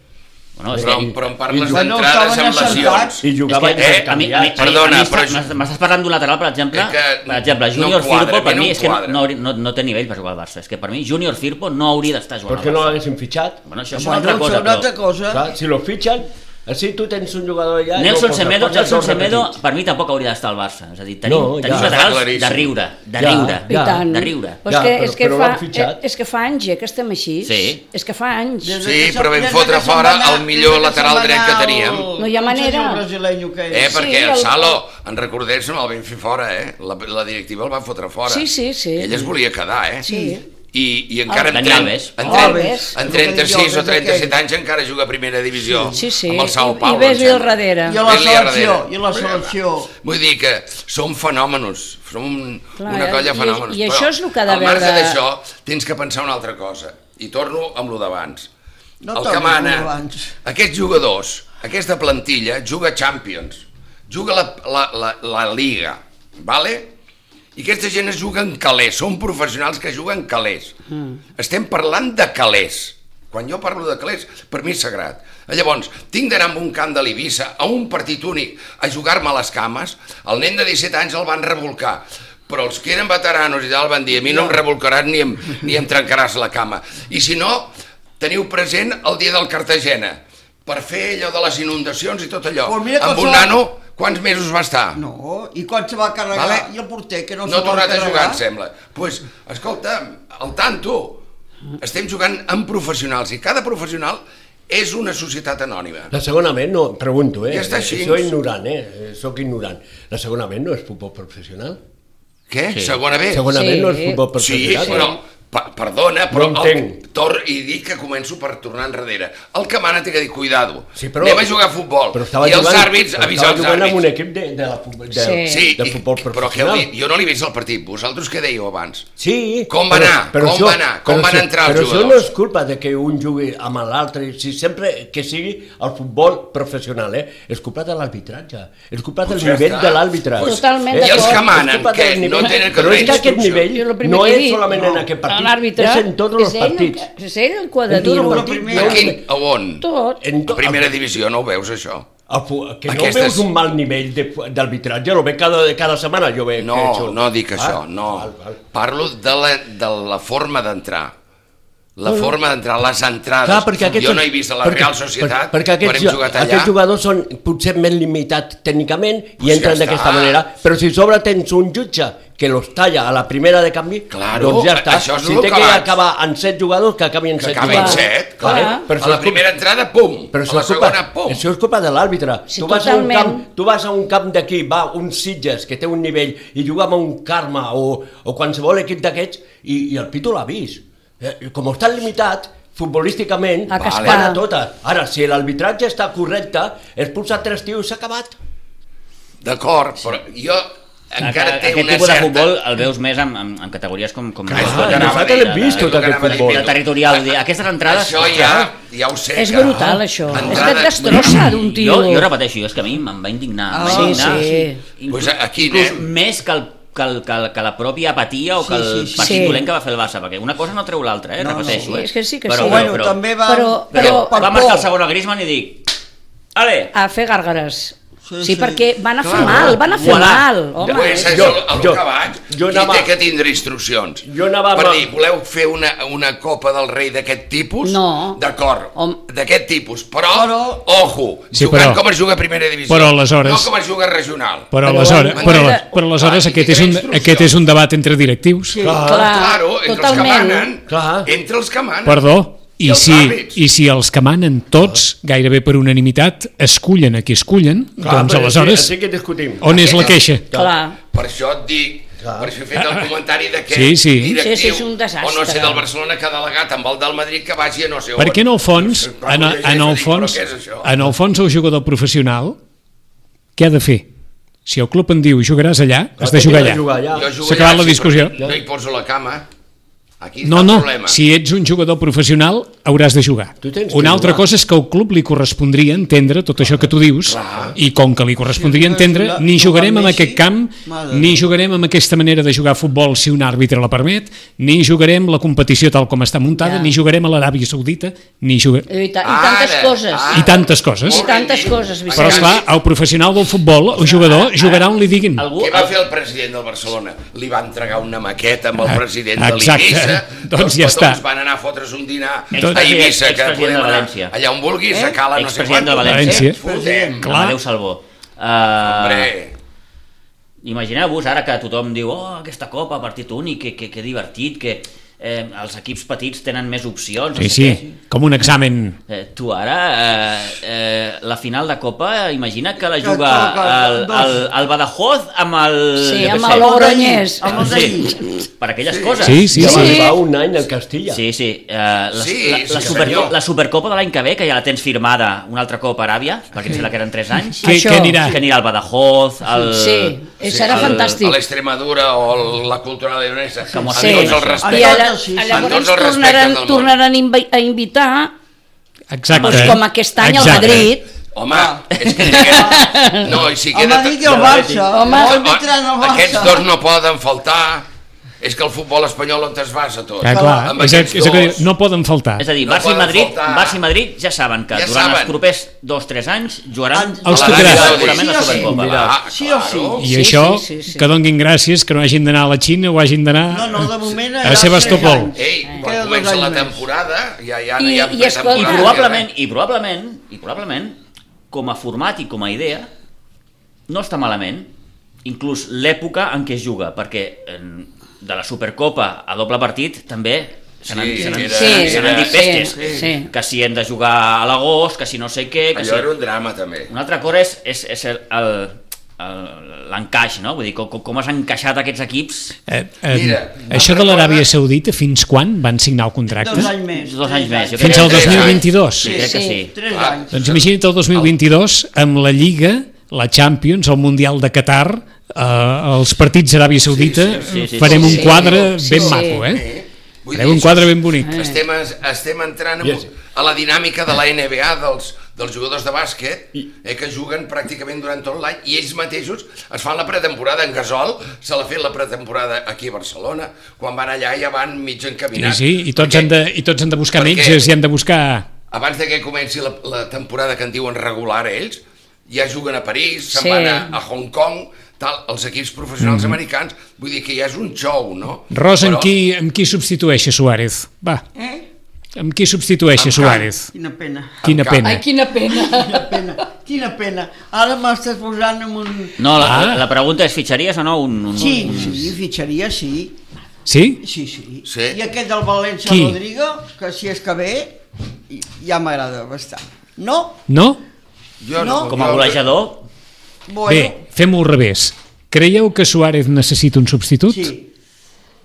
S5: Bueno, és
S3: Però,
S5: que,
S3: però em parles
S2: Bueno,
S3: d'entrades
S2: estaven
S3: amb lesions.
S2: assentats.
S6: I jugava
S5: és que, eh, a mi, a mi, a mi,
S3: Perdona,
S5: a mi
S3: però
S5: m'estàs-
S3: això-
S5: m'estàs parlant d'un lateral, per exemple,
S3: És que
S5: per exemple,
S3: no
S5: Junior
S3: quadra,
S5: Firpo, per
S3: no
S5: mi és que no,
S3: quadra.
S5: no, hauria- no, no té nivell per jugar al Barça. És que per mi Junior Firpo no hauria d'estar jugant
S6: Per què
S5: al
S6: no
S5: Barça.
S6: l'haguessin fitxat?
S5: Bueno, això és
S2: bueno,
S5: una altra cosa,
S2: una
S5: però...
S2: altra cosa.
S6: Clar, si lo fitxen, així tu tens un jugador allà...
S5: Nelson
S6: no,
S5: Semedo,
S6: posa- posa
S5: Nelson
S6: dos
S5: Semedo,
S6: repetits.
S5: per mi tampoc hauria d'estar al Barça. És a dir, tenim,
S6: No, ja.
S5: tenim
S3: Claríssim.
S5: laterals de riure, de
S6: Ja,
S5: riure.
S6: ja.
S4: I tant.
S5: de riure.
S4: Però és,
S6: Ja,
S4: que,
S6: però-
S4: és, que
S6: però
S4: fa, eh,
S6: l'han fitxat.
S4: és que fa anys ja que estem així.
S5: Sí.
S4: És que fa anys.
S2: Des de
S3: Sí,
S2: que se'n-
S3: però vam
S2: des de
S3: fotre
S2: que se'n
S3: fora
S2: va anar-
S3: el millor
S2: des de que se'n
S3: lateral
S2: va
S3: dret
S2: anar
S3: que
S2: el-
S3: teníem.
S4: No hi ha
S2: com se diu
S4: manera.
S2: el brasileño que
S3: Eh,
S2: és?
S3: perquè
S4: Sí,
S3: el
S4: el-
S3: Salo, en recordés, no el vam fer fora, eh? La, la directiva el va fotre fora.
S4: Sí, sí, sí.
S3: Ell es volia quedar, eh?
S4: Sí. Ah,
S3: I, i encara en,
S5: Daniel
S3: tren-
S5: Alves.
S3: en, tren-
S4: Alves.
S3: en
S2: El que diu
S3: 36 o
S2: Alves,
S3: 37
S2: aquell.
S3: anys encara juga a primera divisió
S4: Sí, sí.
S3: amb el Sao
S4: I- i
S3: Paulo. em
S4: ves-li al
S3: sembla.
S4: darrere.
S2: I a la
S3: Ves-li al
S2: selecció,
S3: darrere.
S2: i a la selecció.
S3: Vull dir que som fenòmenos, som un,
S4: Clar,
S3: una
S4: eh?
S3: colla
S4: I-
S3: fenòmenos.
S4: i això és lo que ha de
S3: al marge
S4: veure-
S3: d'això tens que pensar una altra cosa. I torno amb lo d'abans.
S2: No
S3: el que
S2: tornis amb
S3: mana,
S2: lo d'abans.
S3: aquests jugadors, aquesta plantilla, juga Champions, juga la, la, la, la Liga, vale? I aquesta gent es juga en calés, són professionals que juguen calés. Mm. Estem parlant de calés. Quan jo parlo de calés, per mi és sagrat. Eh, Llavors, tinc d'anar a un camp de l'Ibissa, a un partit únic, a jugar-me les cames. El nen de 17 anys el van revolcar però els que eren veteranos i tal van dir a mi no em revolcaràs ni em, ni em trencaràs la cama. I si no, teniu present el dia del Cartagena, per fer allò de les inundacions i tot allò.
S2: Pues mira que
S3: Amb un
S2: això-
S3: nano, quants mesos va estar?
S2: No, i quan se va carregar,
S3: Vale.
S2: i el porter, que no,
S3: no,
S2: se
S3: no ha
S2: va
S3: tornat a
S2: carregar?
S3: jugar, em sembla. Doncs, pues, escolta, al tanto, estem jugant amb professionals i cada professional és una societat anònima.
S6: La segona B no, pregunto, eh?
S3: Ja està així.
S6: Soc ignorant, eh? Soc ignorant. La segona B no és futbol professional?
S3: Què? Sí. Segona B?
S6: Segona
S4: Sí.
S6: B no és futbol
S3: Eh, Sí,
S6: professional?
S3: però Pa perdona, però
S6: No entenc.
S3: el, tor i dic que començo per tornar enrere. El que mana té que dir, cuidado,
S6: Sí, però,
S3: anem a jugar a futbol.
S6: Però estava
S3: I els
S6: jugant,
S3: àrbits,
S6: però
S3: avisar els
S6: Estava jugant
S3: àrbits.
S6: amb un equip de, de, la, fu- de,
S4: Sí.
S3: Sí,
S6: de
S3: i-
S6: futbol
S3: però què heu
S6: professional.
S3: dit? Jo no l'he vist el partit. Vosaltres què dèieu abans?
S6: Sí,
S3: Com va anar? Com va anar? Com van
S6: això-
S3: entrar els
S6: però
S3: jugadors?
S6: Però això no és culpa de que un jugui amb l'altre, si sempre que sigui el futbol professional, eh? és culpa de l'arbitratge, és culpa del
S3: Pues ja
S6: nivell
S3: està.
S6: de l'àrbitre.
S3: Pues-
S4: Totalment
S3: I els
S4: d'acord.
S3: que
S6: És
S3: manen,
S6: culpa
S3: que
S6: del
S3: no
S6: nivell.
S3: tenen cap
S6: Però és que aquest
S3: instrucció.
S6: nivell
S4: Jo el primer
S6: no
S4: que he
S6: és
S4: dit,
S6: solament
S4: no.
S6: en aquest partit,
S4: L'àrbitre
S6: és en tots els
S4: és ell el
S6: partits.
S4: que- És ell el que ha de
S6: En tots els
S4: dir-ho.
S6: partits,
S3: A, quin, a on?
S4: Tot.
S6: En
S3: A
S6: to-
S3: primera divisió no ho veus, això?
S6: El fu- que no
S3: Aquestes-
S6: veus un mal nivell de- d'arbitratge, ho veig cada, cada setmana, jo veig Eh, que
S3: No,
S6: això-
S3: no dic això,
S6: Ah,
S3: no.
S6: val, val.
S3: Parlo de la, de la forma d'entrar. La forma d'entrar, les entrades.
S6: Clar, perquè aquests,
S3: jo no he vist a la Real Societat
S6: perquè, perquè aquests,
S3: quan hem jugat allà.
S6: Aquests jugadors són potser més limitats tècnicament i
S3: ja
S6: entren
S3: està.
S6: d'aquesta manera, però si a sobre tens un jutge que los talla a la primera de canvi,
S3: Claro,
S6: doncs ja està.
S3: això és
S6: si
S3: el
S6: té
S3: que
S6: que
S3: vaig.
S6: acabar en set jugadors, que acabin en
S3: que
S6: set
S3: acaben
S6: jugadors.
S3: set, clar.
S4: Clar.
S3: Però a la
S6: és culpa-
S3: primera entrada, pum.
S6: però
S3: a la
S6: això és culpa-
S3: segona, pum.
S6: Això és culpa de l'àrbitre.
S4: Sí,
S6: tu, vas a un
S4: totalment.
S6: camp, tu vas a un camp d'aquí, va, un Sitges, que té un nivell, i juga amb un Carme o, o qualsevol equip d'aquests, i, i el Pitu l'ha vist. Eh, com està limitat, futbolísticament,
S4: A
S6: van
S4: cascar.
S6: a totes. Ara, si l'arbitratge està correcte, és posar tres tios i s'ha acabat.
S3: D'acord, però jo encara
S5: Aquest-
S3: té
S5: aquest
S3: una
S5: tipus
S3: certa... Ah,
S5: de futbol el veus més en, en, en categories com... com
S3: Clar,
S5: com-
S3: jo anava
S6: nosaltres
S3: a dir,
S6: l'hem vist,
S3: ara,
S6: tot
S3: jo
S5: tota
S3: anava
S6: aquest
S3: a dir,
S6: futbol.
S3: Pitu,
S5: de territorial, vull dir, aquestes entrades...
S3: Això ja, ja ho sé.
S4: És
S3: que-
S4: brutal, això.
S3: Entrades-
S4: És que et destrossa d'un tio.
S5: Jo, jo repeteixo, jo és que a mi em va indignar. em va
S4: Sí,
S5: indignar.
S4: sí.
S5: Inclús-
S3: Pues aquí
S5: inclús
S3: anem.
S5: més que el que, el, que, el, que la pròpia apatia o que el
S2: Sí, sí, sí.
S5: partit
S4: Sí.
S5: dolent que va fer el Barça, perquè una cosa no treu l'altra, eh?
S2: No, no,
S5: repeteixo.
S4: sí,
S5: eh?
S4: és que sí que
S5: però,
S4: sí.
S5: Però,
S2: bueno,
S5: però,
S2: també va...
S4: però-
S5: però,
S4: però-
S2: per
S5: va marcar
S2: por.
S5: el segon a Griezmann i dic... Ale!
S4: A fer gàrgares.
S2: Sí,
S4: Sí,
S2: sí.
S4: perquè van a fer
S3: Clar.
S4: mal, van a fer
S5: Voilà.
S4: mal, home.
S3: Pues eh, és
S6: jo-
S3: el, el
S6: jo-
S3: que vaig.
S6: jo
S3: Qui
S6: anava-
S3: té que tindre instruccions?
S6: Jo anava
S3: Per
S6: amb-
S3: dir, voleu fer una, una copa del rei d'aquest tipus?
S4: No.
S3: D'acord,
S4: Hom-
S3: d'aquest tipus. Però,
S2: Però-
S3: ojo,
S1: Sí,
S3: jugant
S1: però-
S3: com es juga a primera divisió.
S1: però aleshores-
S3: No com es juga regional.
S1: Però,
S4: Però
S1: aleshores,
S4: en-
S1: però,
S4: en-
S1: però aleshores
S3: Clar,
S1: aquest,
S3: i
S1: és un,
S3: instruccions.
S1: aquest és un debat entre directius.
S2: Sí.
S6: Clar.
S4: Clar,
S3: Claro, entre
S4: totalment.
S3: els que manen.
S6: Clar.
S3: Entre els que manen.
S1: Perdó, i,
S3: I els
S1: si,
S3: àrbits.
S1: i si els que manen tots, gairebé per unanimitat, escullen a qui escullen, doncs
S6: però
S1: aleshores,
S6: Així, així que discutim.
S1: on és la
S3: Aquest-
S1: queixa?
S4: Clar.
S3: Per això et dic,
S6: Clar.
S3: per això he fet el comentari de que
S1: Sí, sí.
S3: directiu
S4: Sí, sí, és un desastre.
S3: o no sé del Barcelona que ha delegat amb el del Madrid que vagi a no sé on.
S1: Perquè en el fons,
S3: Quan
S1: en,
S3: ho llegeixo
S1: en el
S3: dic,
S1: fons,
S3: Però què és això?
S1: en el fons el jugador professional què ha de fer? Si el club en diu jugaràs allà, has de jugar allà.
S3: Jo jugo
S1: S'ha acabat
S3: allà,
S1: la
S3: sí,
S1: discussió.
S3: però No hi poso la cama. Aquí
S1: No,
S3: està
S1: no,
S3: el problema.
S1: si ets un jugador professional hauràs de jugar.
S6: Tu tens que
S1: Una altra
S6: jugar.
S1: cosa és que al club li correspondria entendre tot això que tu dius i com que li correspondria
S2: Sí,
S1: entendre,
S2: la-
S1: ni
S2: jugar
S1: jugarem en
S2: amb Messi,
S1: aquest camp,
S2: mare
S1: ni
S2: de
S1: jugarem amb aquesta manera de jugar a futbol si un àrbitre la permet, ni jugarem la competició tal com està muntada,
S4: Ja. Eh,
S1: ni jugarem a l'Aràbia Saudita, ni jugarem...
S4: I, ta i tantes
S3: Ara,
S4: coses.
S3: ara.
S1: I tantes coses.
S3: Molt
S4: I
S3: ben
S4: tantes
S3: dit.
S4: coses, Vicent.
S1: Però, esclar, el professional del futbol, el jugador, jugarà on li diguin.
S5: Algú,
S3: Què va fer el president del Barcelona? Li va entregar una maqueta amb el president de
S1: Ah, exacte.
S3: l'Eivissa.
S1: Doncs
S3: els
S1: ja està. Doncs-
S3: petons van anar a fotre's un dinar a
S5: Expresident-
S3: Eivissa, que
S5: expresident
S3: podem
S5: de
S3: anar
S5: València.
S3: allà on vulguis,
S4: Eh?
S3: a Cala, no sé quant.
S5: Expresident de
S1: València.
S3: Fotem.
S1: Clar.
S5: Amadeu Salvó. Uh,
S3: Hombre,
S5: Imagineu-vos ara que tothom diu oh, aquesta copa, partit únic, que, que, que divertit, que eh, els equips petits tenen més opcions. no
S1: Sí,
S5: sé
S1: sí,
S5: què.
S1: com un examen.
S5: Eh, tu ara, eh, eh, la final de Copa, imagina que la
S2: Que
S5: juga
S2: toca,
S5: el,
S2: doncs.
S5: el, el Badajoz amb el...
S4: Sí,
S5: jo què
S4: amb
S5: sé.
S4: el Logroñés.
S2: Amb
S5: Amb
S2: el
S5: els d'ahir. Per aquelles coses.
S1: Sí, sí,
S6: Ja va
S1: sí.
S6: arribar un any al Castilla.
S5: Sí, sí. Eh, la,
S3: Sí, sí,
S5: la, la,
S3: senyor.
S5: superco la Supercopa de l'any que ve, que ja la tens firmada un altre cop a Aràbia, perquè em sembla que eren 3 anys.
S1: Què,
S4: Això.
S1: què anirà?
S5: Que anirà al Badajoz, al...
S4: Sí, Eh, serà
S5: el-
S4: fantàstic.
S3: a l'Extremadura o la cultura leonesa.
S5: Com
S3: Amb
S5: sí.
S3: tots els
S4: I ara,
S3: respectes.
S2: sí, sí.
S3: Amb
S4: llavors
S3: tots els
S4: tornaran,
S3: respectes del món.
S4: tornaran invi- a invitar,
S1: Exacte.
S4: doncs, com aquest any al
S1: Exacte.
S4: Madrid.
S3: Home, és
S4: Ah.
S3: que diguem... No, i si
S2: El
S3: queda...
S2: Madrid i el Barça. Home, no invitaran el Barça.
S3: Aquests dos no poden faltar. És que el futbol espanyol on es basa tot.
S1: Ah, clar,
S3: Amb
S1: és, el-
S3: aquests
S1: és el que
S3: dos.
S1: diu, no poden faltar.
S5: És a dir,
S3: No
S5: Barça, i
S3: poden
S5: Madrid,
S3: faltar.
S5: Barça i Madrid ja saben que
S3: Ja
S5: durant
S3: saben.
S5: els propers 2-3 anys jugaran
S2: Els
S5: a la
S1: tocarà.
S5: Lliga, segurament
S2: Sí
S5: la
S2: o sí,
S5: Supercopa.
S6: mira.
S5: va.
S3: Ah,
S2: Sí o sí.
S3: claro.
S1: I
S4: Sí,
S1: això,
S4: sí, sí, sí.
S1: que donguin gràcies, que no hagin d'anar a la Xina o hagin d'anar
S2: No, no, de moment...
S1: a Sebastopol.
S3: Ei, quan
S2: Queda
S3: comença
S2: dos
S3: la
S2: anys més.
S3: temporada, ja, ja,
S4: I-
S3: ja
S4: i escolta-
S5: I
S4: Ah,
S5: probablement, i probablement, i probablement, com a format i com a idea, no està malament, inclús l'època en què es juga, perquè en, de la Supercopa a doble partit també se n'han
S3: Sí,
S5: se n'han-
S3: era-
S5: se
S4: Sí,
S5: n'han dit
S4: sí,
S5: pestes,
S4: sí, sí.
S5: que si hem de jugar a l'agost, que si no sé què... Que
S3: Allò
S5: si...
S3: era un drama, també.
S5: Una altra cosa és, és, és el, el, el- l'encaix, no? Vull dir, com, com has encaixat aquests equips
S1: Eh, eh,
S3: Mira,
S1: això de
S3: una
S1: l'Aràbia
S3: cosa-
S1: Saudita, fins quan van signar el contracte?
S2: Dos anys més.
S5: dos anys més. Jo
S1: Fins
S5: crec
S1: al
S5: que-
S3: Tres anys.
S1: 2022?
S5: Sí, crec que sí.
S2: Tres
S3: Clar.
S2: anys.
S1: Doncs imagina't el 2022 amb la Lliga, la Champions, el Mundial de Qatar, eh, els partits Aràbia Saudita,
S5: sí, sí,
S1: farem
S5: sí,
S1: un
S5: sí.
S1: quadre
S4: Sí,
S1: ben
S4: sí.
S1: maco, eh?
S3: Eh? Vull
S1: Farem un
S3: dir,
S1: quadre ben bonic.
S3: Estem, estem entrant
S6: Yes.
S3: yes. a la dinàmica de la NBA dels, dels jugadors de bàsquet eh, que juguen pràcticament durant tot l'any i ells mateixos es fan la pretemporada en Gasol, se l'ha fet la pretemporada aquí a Barcelona, quan van allà ja van mig
S1: Sí,
S3: encaminats.
S1: sí, i tots,
S3: Perquè
S1: han de, i tots han de buscar
S3: Perquè-
S1: metges i han de buscar...
S3: Abans de que comenci la, la temporada que en diuen regular ells, ja juguen a París, se'n
S4: Sí.
S3: van a, a Hong Kong, tal, els equips
S1: Mm.
S3: professionals americans, vull dir que ja és un xou, no?
S1: Ros, amb qui, amb qui substitueix a Suárez? Va,
S2: Eh?
S1: amb qui substitueix a
S3: Amb
S1: Suárez?
S2: Quina pena.
S1: Quina
S3: Amb
S1: pena.
S4: Ai, quina pena.
S2: Quina pena. Quina pena. Ara m'estàs posant en un...
S5: No, la,
S1: Ah.
S5: la, la pregunta és, fitxaries o no un... un
S2: Sí,
S5: un...
S2: sí, fitxaria, sí.
S1: Sí?
S2: Sí, sí.
S3: Sí.
S2: I aquest del València
S1: Qui?
S2: Rodrigo, que si és que ve, i- ja m'agrada bastant. No?
S1: No?
S3: Jo
S2: No?
S5: Com a golejador,
S1: Bé,
S2: Bueno,
S1: fem-ho al revés. Creieu que Suárez necessita un substitut?
S2: sí.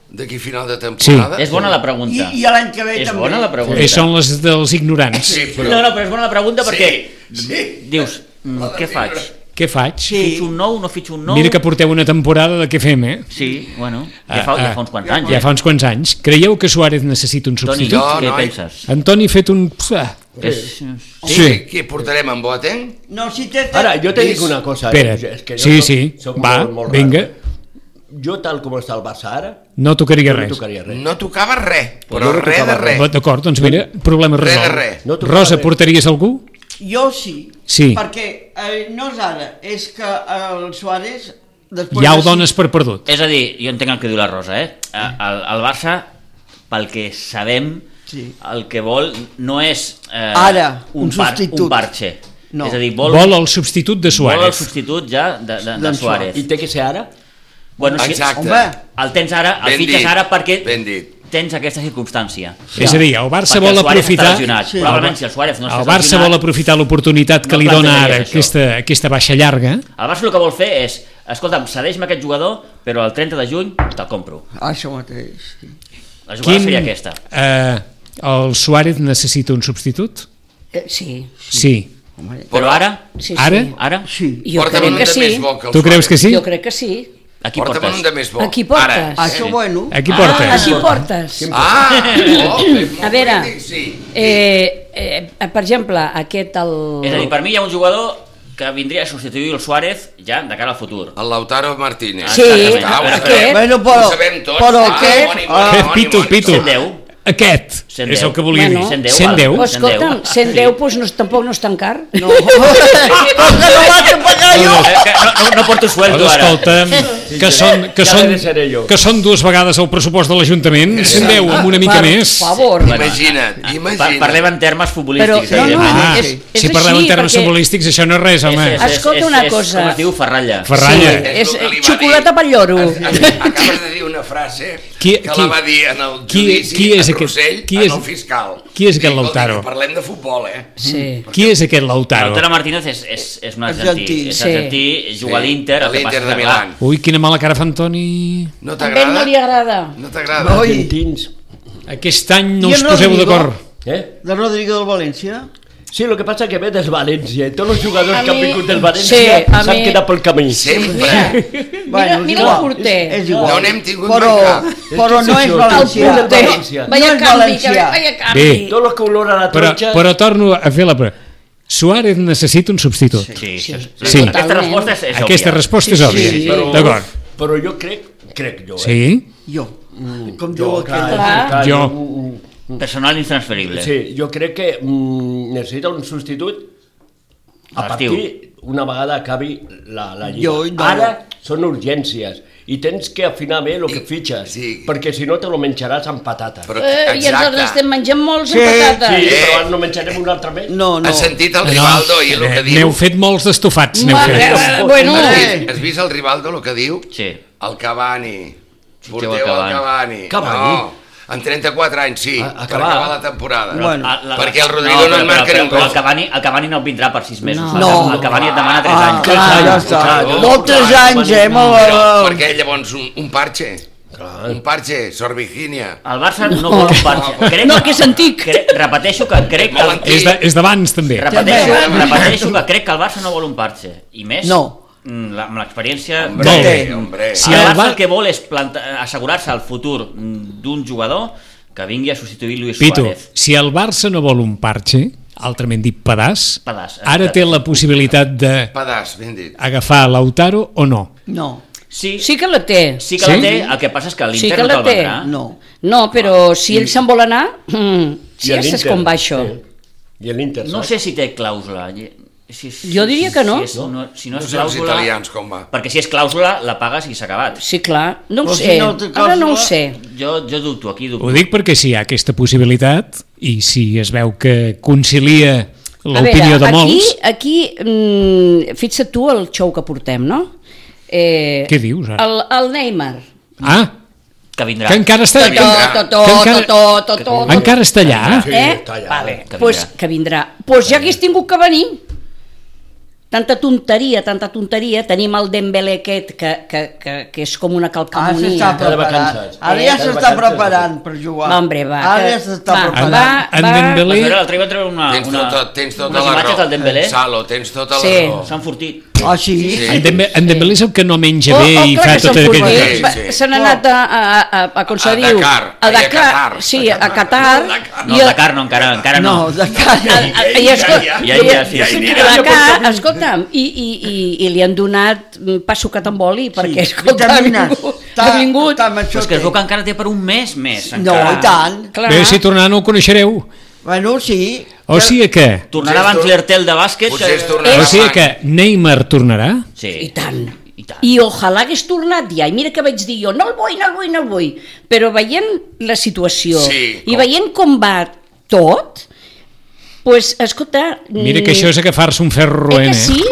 S3: d'aquí final de temporada...
S5: és bona la pregunta.
S2: I- i a l'any que ve
S5: és
S2: també.
S5: bona la pregunta.
S1: Eh, són les dels ignorants.
S3: Sí, però...
S5: No, no, però és bona la pregunta
S3: Sí,
S5: perquè
S3: sí.
S5: dius, mm,
S3: Hola,
S5: què
S3: sí,
S5: faig?
S3: però-
S1: Què faig?
S2: Sí.
S5: Fitxo un nou, no fitxo un nou?
S1: Mira que porteu una temporada de què fem, eh? Ah,
S5: Sí, bueno, ja fa, ja fa uns quants anys. eh?
S1: Ja fa uns quants anys. Creieu que Suárez necessita un
S5: Toni,
S1: substitut?
S3: jo-
S5: què
S3: noi.
S5: penses?
S1: Antoni ha fet un... Ah,
S5: És...
S3: Sí.
S1: Sí.
S3: sí. Qui portarem en Boateng?
S2: No, si té... té-
S6: Ara, jo te
S3: Lluís,
S6: dic una cosa.
S1: espera.
S6: eh? És que jo
S1: Sí,
S6: no-
S1: sí.
S6: soc
S1: Va,
S6: molt, molt
S1: vinga.
S6: Raro. Jo, tal com està el Barça ara,
S1: no tocaria
S6: no
S1: res.
S6: tocaria res.
S3: No tocava res, però
S6: Jo no
S3: res de
S6: tocava
S3: res.
S1: Va, D'acord, doncs mira, problema
S3: Res de
S1: resolt.
S3: res.
S6: No tocava
S1: Rosa,
S6: res.
S1: portaries algú?
S2: Jo sí.
S1: Sí.
S2: Perquè eh, no és ara, és que el Suárez... Després
S1: Ja
S2: de
S1: ho
S2: cinc-
S1: dones per perdut.
S5: És a dir, jo entenc el que diu la Rosa, eh? El, el Barça, pel que sabem,
S2: Sí.
S5: el que vol no és eh,
S2: Ara,
S5: un,
S2: un substitut.
S5: un parxe.
S2: No.
S5: És a dir, vol,
S1: Vol el substitut de
S5: vol el
S1: Suárez.
S5: substitut ja de, de, de
S2: D'en
S5: Suárez.
S6: I té que ser ara?
S5: Bueno, sí,
S3: Exacte.
S2: Home,
S5: el tens ara, el
S3: Ben
S5: fitxes
S3: dit,
S5: ara perquè
S3: ben dit.
S5: tens aquesta circumstància.
S1: És a dir, el Barça
S5: Perquè
S1: vol
S5: el Suárez
S1: aprofitar...
S5: està lesionat.
S2: Sí.
S5: Probablement, si el Suárez no està
S1: El Barça
S5: lesionat-
S1: vol aprofitar l'oportunitat que
S5: No
S1: li dona
S5: plantejaries
S1: ara
S5: això.
S1: aquesta, aquesta baixa llarga.
S5: El Barça el que vol fer és, escolta'm, cedeix-me aquest jugador, però el 30 de juny te'l compro.
S2: això mateix. Sí.
S5: La jugada seria aquesta.
S1: Eh, el Suárez necessita un substitut?
S4: Eh, Sí,
S1: Sí.
S2: Home,
S5: Però ara,
S4: sí, sí.
S1: Ara?
S5: ara,
S2: sí.
S4: Jo
S3: Porta'm
S4: crec
S3: un
S4: que
S3: de
S4: sí.
S3: més bo que el
S1: Tu creus que
S3: Suárez.
S1: sí?
S4: Jo crec que sí.
S5: a qui
S3: Porta'm
S5: portes?
S3: un de més bo.
S4: A qui portes?
S3: Ara.
S2: Això, bueno...
S1: Aquí portes.
S4: Ah, sí, portes.
S3: Ah! Oh, és molt
S4: A veure,
S3: polític, sí.
S4: eh, eh, per exemple, aquest el...
S5: És a dir, per mi hi ha un jugador que vindria a substituir el Suárez ja de cara al futur.
S3: El Lautaro Martínez.
S5: Sí,
S3: Ah, ho
S5: però
S3: sabem.
S4: aquest-
S2: Bueno, però-
S3: Ho sabem tots.
S2: però
S3: Ah,
S2: aquest-
S3: moni,
S2: Ah.
S3: moni,
S1: Eh,
S3: moni,
S1: Pitu,
S3: moni.
S1: Pitu.
S5: 110.
S1: Aquest
S5: 110.
S1: és el que volia
S4: Bueno,
S1: dir.
S5: 110,
S1: 110?
S5: val.
S4: Oh, escolta'm,
S5: 110.
S4: 110 doncs, no, tampoc no és tan car.
S2: No, perquè no vaig a pagar jo!
S5: Eh, que No, no, no porto sueldo
S1: Doncs
S5: ara.
S1: escolta'm, que són, que,
S6: ja
S1: són,
S6: l'he de ser jo.
S1: que són dues vegades el pressupost de l'Ajuntament, 110 amb una mica
S4: per
S1: més.
S4: favor.
S3: Imagina't,
S5: Pa-
S3: imagina't.
S5: Ah, Parlem en termes futbolísticos.
S4: Però- no, no,
S5: evidentment.
S1: Ah,
S4: és- és
S1: si parlem en
S4: així,
S1: termes
S4: perquè-
S1: futbolístics això no és res, home.
S5: És- és- és-
S4: Escolta una
S5: és-
S4: cosa.
S5: Com es diu, Ferralla.
S1: Ferralla.
S4: Sí.
S3: És
S4: És eh,
S3: el que li va
S4: xocolata
S3: dir.
S4: pel lloro.
S3: Acabes de dir una frase
S1: Qui-
S3: que
S1: qui-
S3: la va dir en el
S1: qui-
S3: judici
S1: qui és
S3: en
S1: aquest-
S3: Rossell,
S1: qui és-
S3: en el fiscal.
S1: qui és aquest
S3: Dic, escolta,
S1: Lautaro?
S3: que Parlem de futbol, eh?
S4: Sí.
S1: Qui és aquest Lautaro?
S5: Lautaro Martínez és, és, és un argentí.
S2: Argentí,
S5: És
S4: sí.
S5: argentí, juga a
S3: Sí,
S5: l'Inter.
S3: a
S5: el que
S3: l'Inter
S5: passa
S3: de
S5: que,
S3: Milán.
S1: Ui, quina mala cara fa Antoni.
S3: No
S4: A ell
S3: t'agrada?
S4: no li agrada.
S3: No t'agrada?
S2: Oi.
S6: Argentins.
S1: Aquest any no
S2: I
S1: us
S2: en
S1: poseu
S2: Rodrigo?
S1: d'acord.
S6: Eh?
S2: De Rodrigo del València?
S6: Sí, el que passa que ve des València. i Tots els jugadors
S4: A
S6: que han
S4: mi-
S6: vingut del València
S4: Sí, a
S6: s'han
S4: mi-
S6: quedat pel camí.
S3: Sempre.
S4: Eh, Mira,
S2: és
S4: mira
S2: igual.
S4: el porter.
S2: És, és igual.
S3: No n'hem tingut
S2: però,
S3: mai cap.
S2: Però no és valencià.
S6: El porter.
S4: Vaya
S6: València.
S2: No és
S4: canvi, que,
S2: valencià.
S4: vaya
S1: Bé.
S4: canvi.
S6: Tot el que olora a la
S1: Però,
S6: tronxa...
S1: però torno a fer la... pre- Suárez necessita un substitut.
S5: Sí, sí. sí.
S1: Sí.
S5: Aquesta resposta és, és
S1: Aquesta
S5: òbvia.
S1: resposta és òbvia.
S2: sí,
S6: però-
S1: D'acord.
S6: Però jo crec, crec jo, eh?
S1: Sí?
S2: Jo. Com
S6: Jo,
S2: diu
S6: clar,
S2: aquell.
S4: Clar.
S6: clar,
S1: Jo.
S6: un- un-
S5: Personal intransferible.
S6: Sí, jo crec que mm, necessita un substitut a
S5: A
S6: partir
S5: l'estiu.
S6: una vegada acabi la, la lliga.
S2: Jo no.
S6: Ara són urgències i tens que afinar bé el que fitxes,
S3: sí.
S6: perquè si no te lo menjaràs amb patata.
S3: Però,
S4: Eh, I ens
S3: exacte.
S4: estem menjant molts
S2: Sí,
S4: amb patates.
S6: Sí,
S3: Eh.
S6: però ara no menjarem un altre més.
S2: No, no.
S3: Has sentit el Rivaldo i el que diu?
S1: Eh, N'heu fet molts d'estofats, n'heu
S4: Mare,
S1: fet.
S4: eh, bueno,
S3: Has
S2: Eh.
S3: vist, has vist el Rivaldo el que diu?
S5: Sí.
S3: El Cavani. Porteu el
S5: Cavani.
S3: Cavani.
S6: Cavani?
S3: No. En 34 anys, sí,
S6: A-
S3: per
S6: acabar.
S3: acabar la temporada.
S2: Bueno.
S5: Ah, la-
S3: perquè el Rodrigo no,
S5: però-
S3: en marca
S5: però-
S3: ni un
S5: però
S3: gol.
S5: El Cavani, el Cavani no vindrà per sis mesos.
S4: No.
S5: No. El Cavani et demana tres
S2: Ah,
S5: anys.
S2: clar,
S6: anys,
S2: ja
S6: tres
S2: està.
S6: anys.
S2: Molt tres anys, eh? Molt...
S3: Però, perquè llavors un, un parche,
S6: Clar.
S3: un parche, Sor Virgínia.
S5: El Barça no, vol un parxa. Crec,
S4: No, que és antic.
S5: Crec, repeteixo que crec que...
S3: Molt
S5: El,
S3: antic.
S1: És de- És d'abans, també.
S5: repeteixo,
S3: També.
S5: repeteixo que crec que el Barça no vol un parxa. I més...
S2: No.
S5: mm, La, amb l'experiència...
S3: Hombre,
S1: Molt
S3: hombre,
S1: bé.
S3: hombre.
S1: Si
S5: Si el
S1: el
S5: Barça
S1: Bar-
S5: el que vol és planta- assegurar-se el futur d'un jugador que vingui a substituir Luis
S1: Pitu,
S5: Suárez.
S1: si el Barça no vol un parche, altrament dit pedaç,
S5: Pedaç,
S1: ara té la possibilitat d'agafar
S3: Pedaç, ben dit.
S1: Lautaro o no?
S2: No.
S5: Sí, sí,
S4: Sí que la té.
S5: sí que la
S1: Sí?
S5: té, el que passa és que l'Inter
S4: Sí que
S5: no
S4: la
S5: te'l
S4: té.
S5: vendrà.
S2: No.
S4: No, però si ell se'n vol anar, mm, sí, ja saps com va això.
S6: I l'Inter,
S5: No
S6: saps?
S5: sé si té clàusula. Si, si,
S4: Jo diria que no.
S5: Si, és, no, si no
S3: No
S5: és
S3: sé els
S5: clàusula...
S3: italians com va.
S5: Perquè si és clàusula, la pagues i s'ha acabat.
S4: Sí, clar, no ho
S2: Però si
S4: sé.
S2: no té
S4: Ara no ho
S2: clàusula-
S4: sé.
S5: Jo, jo dubto, aquí dubto.
S1: Ho dic perquè si hi ha aquesta possibilitat i si es veu que concilia
S4: A veure,
S1: l'opinió de molts...
S4: Aquí, aquí mm, fixa't tu el xou que portem, no? Eh,
S1: Què dius, ara?
S4: El, el Neymar.
S1: Ah,
S5: Que vindrà.
S1: que encara està...
S3: Que vindrà.
S4: Totó,
S1: Que
S4: totó,
S1: encara-
S4: totó, totó.
S1: Encara està allà?
S6: Sí,
S4: Eh?
S6: està allà.
S4: Vale,
S5: Que
S4: que pues,
S5: vindrà.
S4: que vindrà. Pues ja hagués tingut que venir. Tanta tonteria, tanta tonteria. Tenim el Dembélé aquest, que, que, que, que és com una
S2: Ara s'està
S4: calcamonia.
S6: Està de
S2: preparant.
S6: vacances.
S2: Ara ja
S6: Està de
S2: s'està
S6: vacances.
S2: preparant per jugar.
S4: Va, hombre, va.
S2: Ara
S4: que-
S2: ja s'està
S4: va,
S1: En-
S2: preparant.
S4: Va,
S1: en
S4: va.
S1: Dembélé-
S5: Vas veure, l'altre dia va treure una,
S3: Tens,
S5: Ah, una,
S3: tota, tens tota
S5: unes
S3: la
S5: imatges del Dembélé.
S3: raó. Salo, tens tota la
S4: Sí.
S3: raó.
S5: S'han fortit.
S2: Ah, sí?
S3: Sí.
S1: En Dembe- En Dembélé és el que no menja
S4: Oh,
S1: bé
S4: oh,
S1: i
S4: clar
S1: fa
S4: que
S1: tot
S4: s'han
S1: aquell...
S4: fortit.
S3: Sí,
S4: Va,
S3: sí.
S4: Se n'ha
S2: Oh.
S4: anat a, a, a, a, com se
S3: A
S4: diu?
S3: Dakar,
S4: A
S3: i a
S4: Dakar.
S3: Qatar.
S4: Sí, a Qatar.
S5: No,
S4: i a-
S5: el Dakar no, encara, encara no.
S2: No, de cara.
S4: Ah, ah, I, escol...
S3: Ja,
S5: ja,
S4: i-
S5: ja, sí,
S4: i-
S5: sí.
S4: i- la cara, escolta'm, i, i, i, i li han donat mm, pa sucat amb oli, perquè,
S2: Sí,
S4: escolta, ha
S2: vitamines.
S4: vingut.
S2: Ta-
S4: Ha vingut.
S2: ta- amb això
S5: Però és que es
S2: té.
S5: veu que encara té per un mes més.
S2: No,
S5: encara.
S2: i tant.
S4: Clar.
S1: Bé, si tornar no ho coneixereu.
S2: Bueno, sí.
S1: O sigui que...
S5: Tornarà
S3: Potser es
S5: abans
S3: tor-
S5: l'Ertel de bàsquet.
S3: Potser es tornarà
S1: O
S3: blanc.
S1: sigui Eh, que Neymar tornarà?
S5: Sí.
S4: I tant.
S5: I tant.
S4: I ojalà hagués tornat ja. I mira que vaig dir jo, no el vull, no el vull, no el vull. Però veient la situació
S3: Sí,
S4: i
S3: com-
S4: veient com va tot, pues, escolta...
S1: Mira que
S4: mm,
S1: això és agafar-se un ferro
S4: Eh
S1: roent,
S4: que
S1: eh?
S4: sí,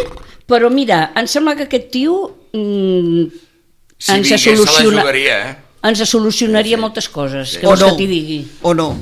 S4: però mira, em sembla que aquest tio mm,
S3: Si
S4: ens,
S3: vingués, se la
S4: soluciona,
S3: jugaria, eh?
S4: ens solucionaria moltes coses, que
S2: O
S4: vols
S2: no.
S4: que t'hi digui.
S2: O no.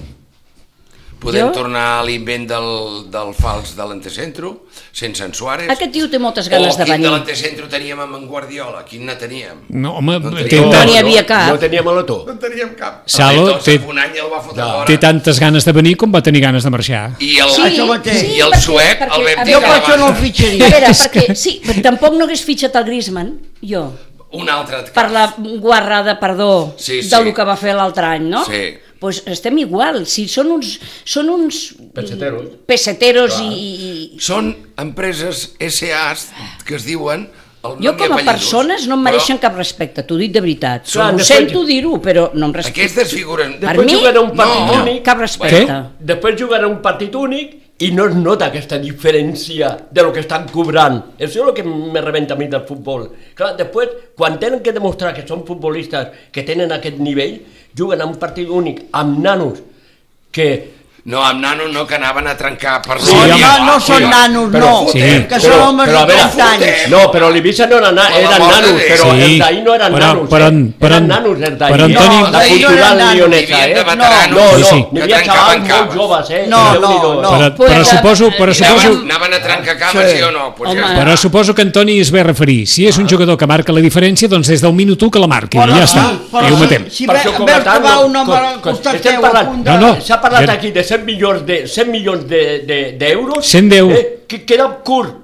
S3: Podem
S4: Jo-
S3: tornar a l'invent del, del fals de l'antecentro, sense en Suárez.
S4: Aquest tio té moltes
S3: o
S4: ganes
S3: quin
S4: de
S3: Oh, de
S4: venir.
S3: l'antecentro teníem amb en Guardiola? Quin ne teníem?
S1: No, home,
S3: No
S1: té,
S3: tenia-
S4: No
S1: ta-
S4: n'hi havia
S6: No
S4: cap.
S6: tenia maletó.
S3: No en teníem cap.
S1: Salo
S3: Alberto,
S1: té-
S3: fa Un any el va fotre
S6: No.
S3: fora.
S1: té tantes ganes de venir com va tenir ganes de marxar.
S3: I el,
S4: Sí,
S2: Això mateix.
S3: i el
S4: perquè-
S3: suec
S4: perquè,
S3: el vam
S4: a
S3: dir
S2: Jo
S4: veure,
S3: que
S2: per això no el
S4: A
S2: fitxaria.
S4: veure, perquè sí, però tampoc no hagués fitxat el Griezmann, jo,
S3: un altre...
S4: per la guarrada, perdó,
S3: Sí, sí.
S4: del que va fer l'altre any, no?
S3: Sí.
S4: pues estem igual, si són uns, són uns
S6: Peseteros.
S4: peseteros i, i,
S3: Són empreses SAs que es diuen... El
S4: Jo
S3: nom i
S4: com a
S3: apellidos.
S4: persones no em mereixen
S3: Però
S4: cap respecte, t'ho dic de veritat.
S6: Clar,
S4: Ho
S6: després-
S4: sento dir-ho, però no em respecta.
S3: Aquestes figuren...
S4: Per
S6: Després
S4: mi,
S6: juguen a un partit
S3: no.
S6: únic.
S4: Cap respecte.
S6: Després jugarà un partit únic i no es nota aquesta diferència de lo que estan cobrant. Això és el que me rebenta a mi del futbol. Clar, després, quan tenen que demostrar que són futbolistes que tenen aquest nivell, juguen a un partit únic amb nanos que...
S3: No, amb nano no, que anaven a trencar per
S2: No,
S1: Sí,
S2: no,
S1: home,
S2: no són nanos, no.
S1: Sí.
S2: Que són homes de 30 anys.
S6: no, però l'Ibiza no era na,
S3: Per la mort
S6: eren
S3: de
S6: nanos,
S3: Déu.
S6: però
S1: Sí.
S6: els d'ahir no eren
S1: Però-
S6: nanos,
S1: però-
S6: eh?
S1: però-
S6: eren nanos els d'ahir.
S1: però, Antoni-
S6: no, la
S2: No,
S6: cultural
S2: nanos.
S6: lionesa,
S3: Vivien de
S6: eh?
S3: veteranos.
S6: No, no,
S1: Sí, sí.
S6: n'hi
S3: Que
S6: havia
S3: trencaven
S6: xavals molt
S3: caves.
S6: joves, eh?
S2: No,
S6: Déu-n'hi-do,
S2: no,
S6: eh?
S1: Però,
S4: pues,
S1: però suposo,
S3: eh,
S1: però suposo, Ah,
S3: Anaven, anaven a trencar cames, sí,
S2: Sí.
S3: o no? Pues ja
S4: Home.
S3: està.
S1: però suposo que Antoni es ve a referir. Si és un jugador que marca la diferència, doncs des del minut 1 que la marqui,
S2: Però
S1: ja
S2: sí,
S1: està,
S2: però
S1: i ho
S2: sí,
S1: matem.
S2: sí. Si ve-
S6: això, com
S2: veus
S6: a
S2: que
S6: tant,
S2: va
S6: no,
S2: un home
S6: com-
S2: al
S6: com-
S2: costat
S6: estem
S2: teu,
S6: parlant-
S2: a punt de-
S1: No, no.
S6: S'ha parlat
S1: Ja-
S6: aquí de 100 milions de 100 milions de- de- d'euros.
S1: 110.
S6: Eh, que queda curt.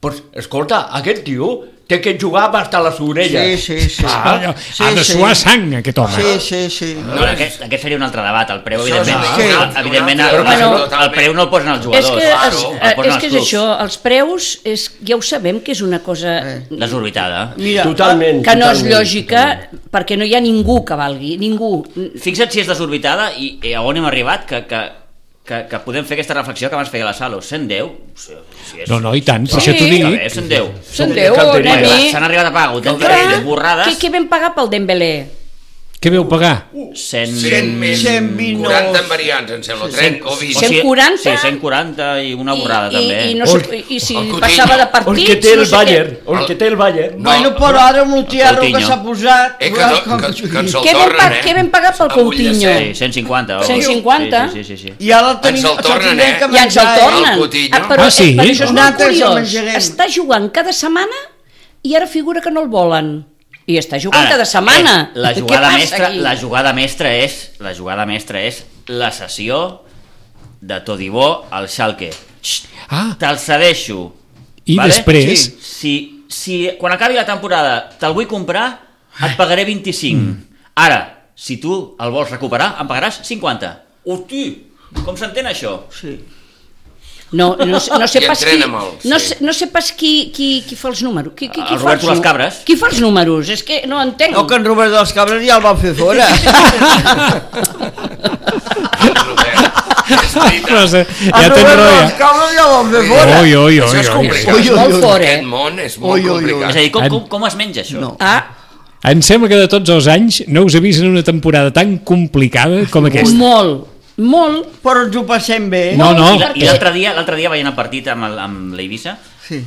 S6: Pues, escolta, aquest tio té que jugar hasta les orelles.
S2: Sí, sí, sí.
S1: Ah,
S2: Sí,
S1: ha de
S2: sí.
S1: suar sang, eh, aquest home.
S2: Sí, sí, sí.
S5: No, aquest, aquest seria un altre debat, el preu,
S3: Això és
S5: evidentment.
S2: un altre-
S5: evidentment,
S3: sí.
S5: evidentment
S3: Però
S5: el,
S4: bueno,
S5: el, el preu no el posen els
S4: És
S5: jugadors.
S4: que, es,
S3: claro.
S4: eh,
S5: el posen
S4: és
S5: els
S4: que és
S5: clubs.
S4: això, els preus, és, ja ho sabem que és una cosa eh,
S5: Desorbitada.
S2: Mira,
S6: Totalment.
S4: que no és
S6: totalment,
S4: lògica,
S6: totalment.
S4: perquè no hi ha ningú que valgui, ningú.
S5: Fixa't si és desorbitada i, i a on hem arribat, que, que, que, que podem fer aquesta reflexió que abans feia la Salo. 110? Si, si és, eh,
S1: No, no, i tant, per
S4: Sí.
S1: això t'ho
S5: Està
S1: dic.
S5: bé, 110.
S4: Són Déu,
S6: calderia.
S4: neni.
S5: S'han arribat a pagar
S4: Clar,
S5: autèntiques borrades.
S4: què, què vam pagar pel Dembélé?
S1: Què veu pagar?
S5: 100...
S3: 120,
S2: 120,
S3: 40 en variants, em sembla, 30 o 20.
S4: sí. 140?
S5: Sí, 140 i una borrada,
S4: I,
S5: també.
S4: I, i, no sé, i si
S3: el Coutinho.
S4: passava de
S6: El
S4: partits...
S6: que té el
S4: no sé
S6: Bayern,
S4: Què.
S6: el que té el Bayern.
S3: Ah. No.
S2: bueno, però ara amb el tiarro que
S5: Coutinho.
S2: s'ha posat...
S3: Eh, que,
S2: veuràs
S3: que, que, que ens el
S4: Què ben
S3: tornen,
S4: pa-
S3: eh?
S4: què ben pagat pel
S3: Avui ja
S4: Coutinho.
S3: sé.
S5: Sí, 150. o-
S4: 150.
S5: Sí, sí, sí. sí, sí.
S2: I ara el tenim,
S3: Ens el tornen,
S2: tindrem
S3: eh?
S2: que
S4: I ens el
S5: Ah,
S2: menjar, eh?
S4: tornen.
S3: El Coutinho.
S4: però,
S1: Ah, sí?
S4: eh, però això és molt
S2: Nosaltres el
S4: curiós.
S2: menjarem.
S4: Està jugant cada setmana i ara figura que no el volen. I està jugant
S5: Ara,
S4: cada setmana.
S5: eh, la
S4: Què
S5: jugada
S4: passa
S5: mestra,
S4: aquí?
S5: la jugada mestra és la jugada mestra és la sessió de Todibó al Schalke. Xt,
S1: Ah.
S5: Te'l cedeixo.
S1: I després?
S5: Sí. Si, si, quan acabi la temporada te'l vull comprar, et pagaré 25.
S1: Mm.
S5: Ara, si tu el vols recuperar, em pagaràs 50. Hosti, com s'entén això?
S4: No, no, sé- no sé
S3: I
S4: pas qui,
S3: entrena molt,
S4: no,
S3: sí.
S4: sé, no sé pas qui, qui, qui fa els números. Qui, qui, qui
S5: Ah, El
S4: fa
S5: Roberto
S4: els nu-
S5: Las Cabres.
S4: Qui fa els números? És que no entenc.
S2: No, que en Robert dels Cabres ja el van fer fora.
S1: Però se-
S2: en
S1: ja
S2: Robert dels
S1: t'enroia.
S2: Cabres ja el van fer fora.
S1: Oi, oi, oi,
S3: Això és
S1: oi.
S3: complicat.
S2: Ui, ui,
S4: Molt
S2: ui.
S4: fort, eh?
S3: Aquest món és molt
S2: Ui, ui, ui.
S5: És
S3: complicat.
S5: a dir, com,
S1: En-
S5: com, com es menja això?
S2: No.
S4: Ah,
S1: Em sembla que de tots els anys no us he vist en una temporada tan complicada com aquesta.
S4: molt, molt.
S2: Però ens ho passem bé.
S1: No,
S6: Oh.
S1: no.
S5: I la- I l'altre dia, l'altre dia veient el partit amb el- amb l'Eivissa,
S2: Sí.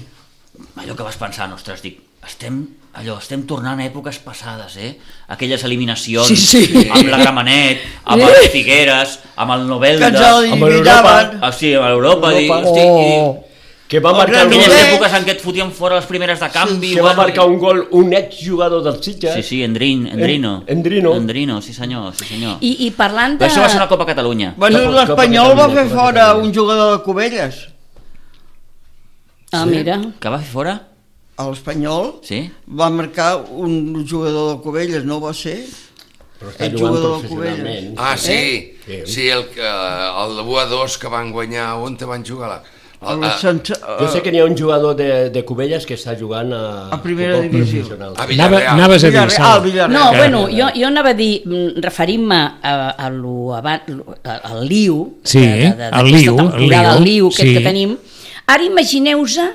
S5: allò que vas pensant, ostres, dic, estem, allò, estem tornant a èpoques passades, eh? Aquelles eliminacions
S4: Sí, sí.
S5: amb la Gramenet, amb el Figueres, amb el
S2: Que
S5: Novelda...
S2: ens eliminaven.
S5: Ah, sí, amb l'Europa, dic, hosti, i...
S6: Que va
S2: El
S6: marcar
S2: Gran
S6: un
S5: Aquelles
S2: Novelda.
S6: gol,
S5: èpoques en què et fotien fora les primeres de canvi...
S6: que va
S5: bueno,
S6: marcar un gol un exjugador del Sitges.
S5: Sí, sí, Endrin, Endrino.
S6: Endrino.
S5: Endrino, sí senyor, sí senyor. I...
S4: I, i parlant de...
S5: Però això va ser una Copa Catalunya.
S2: Bueno,
S6: Cap a-
S2: l'Espanyol
S6: cap a
S2: va
S6: Catalunya,
S2: fer
S6: cap a
S2: fora
S6: Catalunya.
S2: un jugador de Cubelles.
S4: Ah, mira.
S5: Que va fer fora?
S2: A l'Espanyol
S5: Sí?
S2: va marcar un jugador de Cubelles, no va ser?
S6: Però està
S2: El
S6: jugant
S2: jugador
S6: professionalment.
S3: Ah, sí.
S6: Eh?
S3: Sí, el, que- el de Boa 2 que van guanyar, on te van jugar? La,
S2: A,
S3: a,
S2: la
S3: a,
S2: Santa-
S6: Jo
S3: ah.
S6: sé que n'hi ha un jugador de, de Cubelles que està jugant a...
S2: A primera
S6: futbol
S2: divisió.
S6: professional.
S3: a
S1: Anava,
S3: Villarreal.
S1: anaves a dir,
S2: Villarreal,
S1: Sala.
S2: ah, Villarreal.
S4: No,
S1: Clar,
S4: bueno,
S1: clar.
S4: jo, jo anava a dir, mm, referint-me a, a lo aban- lo- a- al liu,
S1: Sí,
S4: de- de- de-
S1: el
S4: d'aquesta
S1: liu, el
S4: temporada, el
S1: liu,
S4: liu aquest
S1: sí. Mm.
S4: que tenim, ara imagineu-se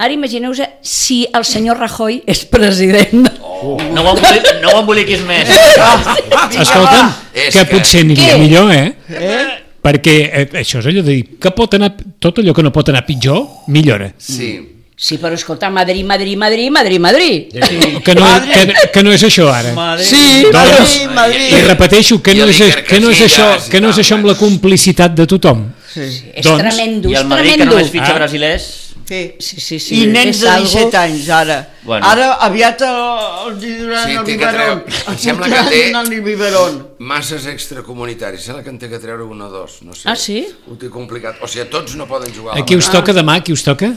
S4: Ara imagineu-se si el senyor Rajoy és president.
S5: No ho emboliquis, no ho emboliquis més.
S1: Escolta'm,
S3: És
S1: que
S3: que-
S1: potser aniria
S4: Què?
S1: millor, eh?
S2: Eh?
S1: Perquè eh, això és allò de dir que pot anar, tot allò que no pot anar pitjor, millora.
S3: Sí.
S4: Sí, però escolta, Madrid, Madrid, Madrid, Madrid, Madrid.
S1: Que no, que, que no és això ara.
S2: Sí,
S1: Doncs-
S2: Madrid, Madrid.
S1: I repeteixo que
S3: I
S1: no
S3: el
S1: és,
S3: Iker
S1: que no és
S3: Casillas
S1: això,
S3: i
S1: que no és
S3: tal,
S1: això amb
S3: bueno.
S1: la complicitat de tothom.
S2: Sí.
S4: És
S1: Doncs- Ah.
S4: tremendo,
S5: I
S4: és
S5: el Madrid, que
S4: tremendo.
S5: només
S6: Ah.
S5: fitxa brasilers...
S2: Sí.
S4: Sí, sí, sí.
S2: I nens
S4: és
S2: de
S4: algo-
S2: 17 anys, ara.
S5: Bueno.
S2: Ara aviat el- els hi duran
S3: Sí,
S2: el
S3: té que
S2: biberon.
S3: treure- em
S2: Els
S3: sembla que té-
S2: donaran el biberon.
S3: Masses extracomunitaris, sembla que en té que treure un o dos, no sé.
S4: Ah, sí?
S3: Ho té complicat. O sigui, tots no poden jugar. a la
S1: Aquí Eh, us
S3: Madrid.
S1: toca demà, aquí us toca?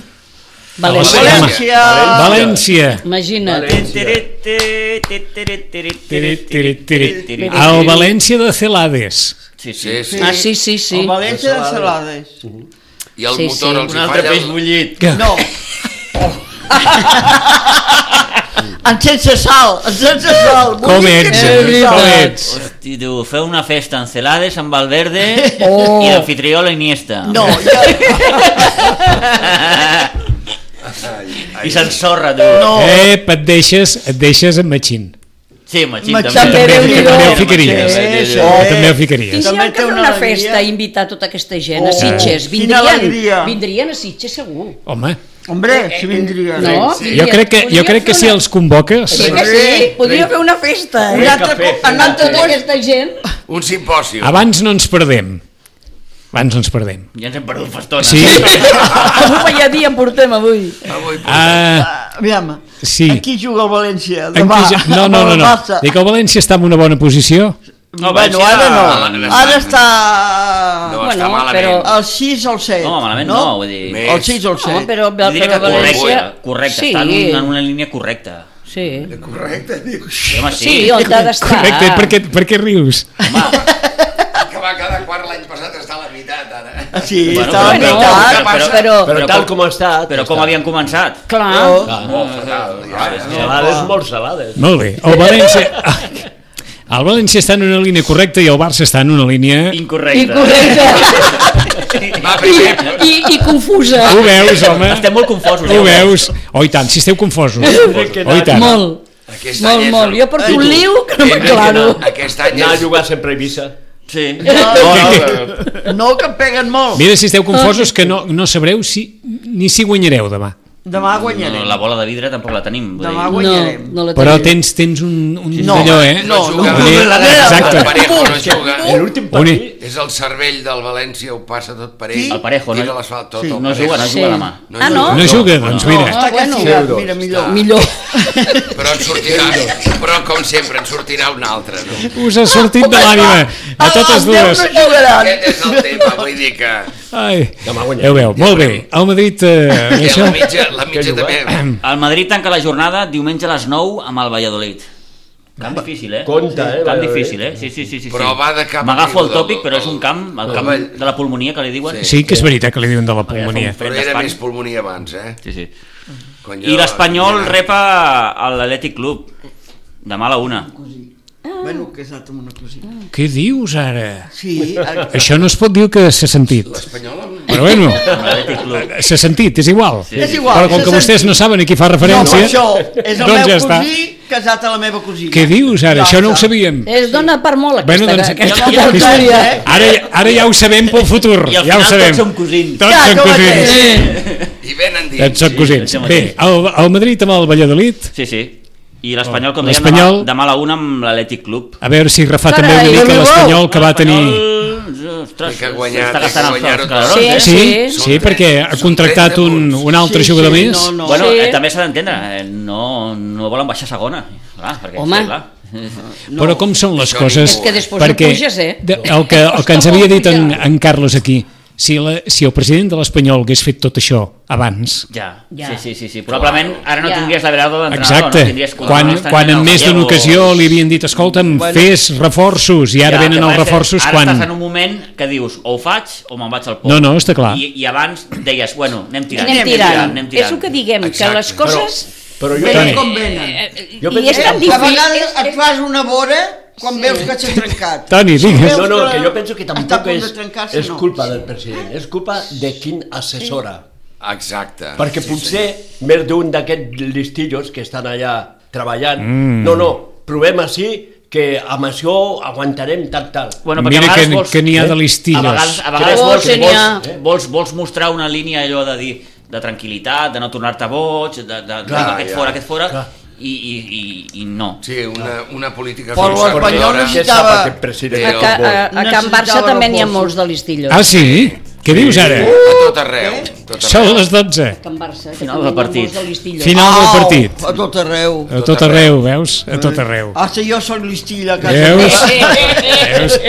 S4: València.
S1: València.
S2: València.
S1: València.
S4: Imagina't.
S1: El València de Celades.
S5: Sí,
S3: Sí,
S5: sí.
S3: sí.
S4: Ah, sí, sí, sí.
S2: El València de Salades.
S3: I el
S4: Sí,
S3: motor
S4: sí.
S3: els
S5: Un
S3: hi
S5: altre
S3: falla...
S5: peix
S3: el-
S5: bullit.
S1: Que,
S2: No. en sense sal, en sense sal.
S1: Com ets, eh, com ets.
S5: Hosti, tu, feu una festa en Celades, amb Valverde i l'anfitrió la Iniesta.
S2: No, ja,
S5: I s'ensorra, tu.
S2: no.
S1: Ep, et deixes, et deixes amb Matxin.
S5: Sí, Machín
S2: Machín
S5: també.
S2: també,
S1: També,
S2: Déu-n'hi-do.
S1: també ho
S2: Sí,
S1: ficaries.
S2: sí,
S1: Eh,
S2: sí.
S1: També ho
S4: I
S1: ficaries.
S4: si
S2: També
S4: han
S2: té
S4: que fer
S2: una
S4: una
S2: alegria.
S4: festa i invitar tota aquesta gent a
S2: Oh,
S4: Sitges,
S2: quina alegria.
S4: vindrien, vindrien a Sitges segur.
S1: Home,
S2: Hombre, si vindria.
S4: No? Sí.
S1: jo crec que, jo crec que si els convoques...
S4: Sí que sí, podria fer una festa,
S2: Un
S4: eh?
S2: altre
S6: cafè,
S2: cop, en
S4: Anar
S2: altre
S4: tota
S2: lloc.
S4: aquesta gent.
S3: Un simpòsium.
S1: Abans no ens perdem. Abans no ens perdem.
S5: Ja ens hem perdut fa estona.
S1: Sí?
S4: Com un balladí em portem avui.
S3: Avui portem.
S1: Ah,
S2: Aviam,
S1: Sí.
S2: aquí juga el València,
S1: en
S2: demà.
S1: qui ja- no, no, no, no. Dic que el València està en una bona posició.
S5: No,
S2: bueno,
S5: València-
S2: ara
S3: no,
S2: no.
S3: no.
S2: Ara està...
S3: no,
S4: bueno,
S3: està malament.
S4: però-
S2: El 6 al 7.
S5: No, malament no, vull dir-
S3: Més.
S2: El 6 al
S4: No,
S2: 7.
S4: però,
S5: Jo
S4: però
S5: diria que correcte,
S4: València...
S5: correcte,
S4: sí,
S5: està en, un, en una línia correcta.
S4: Sí,
S3: Correcte, diu.
S5: Sí, home, sí.
S4: sí, on t'ha d'estar.
S1: Correcte, per què, per què rius?
S3: que va quedar quart l'any passat està a la meitat, ara.
S2: Sí,
S5: Bueno,
S2: està a la
S4: Bueno,
S2: meitat.
S4: però, però,
S6: Però, tal com, està...
S5: Però com havien començat?
S4: Clar,
S2: No.
S6: Ah,
S3: Molt fatal. Ja, ja.
S6: Salades, molt salades.
S1: Molt bé. El València... El València està en una línia correcta i el Barça està en una línia...
S5: Incorrecte.
S4: incorrecte.
S3: Va,
S4: I,
S3: primer.
S4: i, i confusa.
S1: Ho veus, home?
S5: Estem molt confosos. eh,
S1: Ho
S5: ja.
S1: veus? Oh, i tant, si esteu confosos. Oh, i tant.
S4: Molt.
S3: Aquest
S4: Molt,
S3: any és
S4: molt. Jo porto un liu que no
S3: Eh,
S4: m'aclaro.
S3: no, Aquest any
S6: Anar a
S3: és...
S6: jugar sempre a Eivissa.
S5: Sí.
S7: No, no, no, que em peguen
S2: Oh.
S7: molt.
S1: Mira si esteu confosos que no, no sabreu si, ni si guanyareu demà.
S7: Demà
S5: No,
S7: guanyarem.
S5: la bola de vidre tampoc la tenim. Vull
S7: Demà
S5: dir.
S4: No,
S7: guanyarem.
S4: no la
S1: Però
S4: tenim.
S1: tens, tens un, un
S7: No,
S1: d'allò, eh?
S7: no,
S3: no,
S7: no,
S3: juga.
S7: no, no, la meva.
S1: Exacte.
S3: El Parejo no juga.
S6: L'últim partit...
S3: És el cervell del València, ho passa tot per ell.
S2: Sí.
S5: El Parejo, no?
S3: Tira l'asfalt tot.
S7: Sí.
S3: el
S5: No
S3: Parejo.
S5: juga, no
S4: Sí.
S5: juga demà.
S4: Ah, no?
S1: No juga, doncs mira. Ah.
S4: Ah,
S2: Està
S4: bueno.
S2: castigat,
S7: Zero,
S2: mira, millor.
S3: està.
S4: Millor.
S3: Però en sortirà, però com sempre, en sortirà un altre, no?
S1: Us ha sortit de l'ànima. A totes dues.
S7: No
S4: Eh,
S7: jugaran.
S3: Aquest és el tema, vull dir que...
S1: Ai,
S6: Demà guanyarem.
S1: ja ho veu. Molt bé. El Madrid... Eh,
S3: que
S1: això...
S3: la mitja, la mitja també...
S5: El Madrid tanca la jornada diumenge a les 9 amb el Valladolid. Camp difícil, eh?
S6: Compte, eh,
S5: Camp
S6: Valladolid.
S5: difícil, eh? Sí, sí, sí. sí
S3: Però
S5: sí.
S3: va de cap
S5: M'agafo el
S3: riu del-
S5: tòpic, però és un camp, el
S3: del-
S5: camp de la pulmonia que li diuen.
S1: Sí que és veritat que li diuen de la pulmonia.
S3: Però era
S5: Espanya.
S3: més pulmonia abans, eh?
S5: sí, sí.
S3: Quan jo-
S5: I l'Espanyol rep a a l'Atlètic Club. Demà a la una.
S2: Bueno, que has anat amb una cosina.
S1: Què dius ara?
S2: Sí, a-
S1: Això no es pot dir que s'ha sentit.
S3: L'Espanyol amb-
S1: Però bueno,
S5: Amb l'Atlètic Club.
S1: s'ha sentit, és igual.
S5: Sí.
S2: és igual.
S1: Però com que
S2: se sent-
S1: vostès no saben a qui fa
S2: No, però
S1: referència...
S2: això és el
S1: doncs
S2: meu
S1: ja està.
S2: cosí casat a la meva cosina.
S1: Què dius ara?
S2: Ja
S1: Això no ho
S2: està.
S1: sabíem.
S4: Es dona per molt aquesta,
S1: Bueno, doncs
S4: aquesta
S5: ja- ja-
S4: tertúlia.
S2: Eh?
S1: Ara, ara ja ho sabem pel futur,
S5: I al
S1: ja ho
S5: final
S1: sabem.
S5: tots som cosins.
S1: Tots
S2: Ja,
S1: som
S2: com
S1: cosins.
S3: I venen dins.
S1: Tots som
S5: Sí,
S1: cosins.
S5: això
S1: Bé,
S5: mateix.
S1: el, el Madrid amb el Valladolid,
S5: Sí, sí. I l'Espanyol, com dèiem, demà,
S1: L'Espanyol-
S5: demà a la una amb l'Atlètic Club.
S1: a veure si refà també
S4: Carai,
S1: una mica
S4: Déu
S1: l'Espanyol que va tenir...
S5: L'Espanyol, eh, Ostres,
S3: Té que guanyar,
S5: està
S3: té que
S5: gastant els
S3: guanyar-ho
S5: els
S3: tot.
S5: calarons, eh?
S4: Sí.
S1: Sí, sí,
S3: Són
S1: perquè
S3: tres-
S1: ha
S3: són
S1: contractat
S3: tres de
S1: un,
S3: punts.
S1: un altre
S2: Sí,
S1: jugador
S2: sí,
S1: més.
S2: no, no.
S5: Bueno,
S4: Sí.
S5: eh, també s'ha d'entendre, eh, no, no volen baixar a segona, clar, perquè,
S4: Home.
S5: sí, clar.
S1: Però com són les
S3: Això
S1: coses...
S3: ningú. És que
S4: després no puges, eh?
S1: de- El que, el que ens havia dit en, en Carlos aquí, si, la, si el president de l'Espanyol hagués fet tot això abans...
S5: Ja,
S4: Ja.
S5: sí, sí, sí, sí. Probablement ara no
S4: Ja.
S5: tindries la velada d'entrenador.
S1: Exacte,
S5: no tindries
S1: quan,
S5: Iniesta,
S1: quan
S5: ni
S1: en
S5: el
S1: més d'una
S5: Gallego.
S1: ocasió li havien dit escolta'm, bueno, fes reforços i ara
S5: Ja,
S1: venen
S5: que
S1: els
S5: passa,
S1: reforços
S5: ara
S1: quan...
S5: estàs en un moment que dius, o ho faig o me'n vaig al pou.
S1: No, no, està clar.
S5: I, I abans deies, bueno, anem tirant.
S4: Anem tirant.
S5: anem
S4: És el que diguem, que
S3: Exacte.
S4: les coses...
S6: Però jo...
S2: Venen com venen. Eh,
S6: Jo
S4: I
S6: penso-
S4: Eh, és tan
S2: A
S4: difícil...
S2: vegades
S4: és-
S2: et fas una vora quan veus que s'ha trencat.
S1: Toni, digues.
S2: Veus
S6: No, no,
S2: que
S6: que jo penso que
S2: està a
S6: tampoc
S2: punt
S6: és,
S2: de trencar-se,
S6: és
S2: no.
S6: culpa del president, és culpa de quin assessora.
S3: Exacte.
S6: Perquè
S3: Ah, Sí,
S6: potser
S3: senyor.
S6: més d'un d'aquests listillos que estan allà treballant, no, no, provem així que amb això aguantarem tal, tal.
S5: Bueno, perquè
S1: Mira
S5: a vegades
S1: que-
S5: vols-
S1: que n'hi ha de listillos.
S5: A vegades, a vegades
S6: Oh,
S5: vols,
S4: sí, n'hi ha.
S5: vols, eh, vols, vols mostrar una línia allò de dir de tranquil·litat, de no tornar-te boig, de, de,
S3: Clar,
S5: de vinga, aquest
S3: ja.
S5: fora, aquest fora,
S6: Clar.
S5: i, i, i, i no.
S3: Sí, una, una política
S2: Però l'espanyol
S3: conservadora.
S6: Què
S2: necessita-
S6: sap
S2: Estava-
S6: aquest president?
S4: A,
S3: Déu.
S4: ca, a, a Can
S2: Necessitava
S4: Barça també n'hi ha
S2: reforços.
S4: molts de listillos.
S1: Ah, sí? Què dius ara?
S3: A tot arreu. Tot
S1: Són
S3: arreu.
S1: les 12.
S4: Can Barça, que
S5: Final del
S4: també n'hi ha
S5: partit.
S4: molts de listillos.
S1: Final del
S2: Au,
S1: partit.
S2: A tot arreu.
S1: Oh! A tot arreu, Mm. veus? A tot arreu.
S2: Ah, si jo soc l'estilla a casa
S4: Eh,
S1: Veus?
S2: meva.
S1: Veus?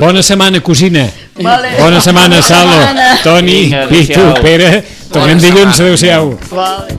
S1: Bona setmana, cosina.
S2: Vale.
S1: Bona setmana, Salo. Toni,
S5: Vinga,
S1: Pitu,
S5: adéu-siau.
S1: Pere. Tornem
S3: Bona
S1: dilluns.
S3: setmana.
S1: Adéu-siau.
S2: Vale.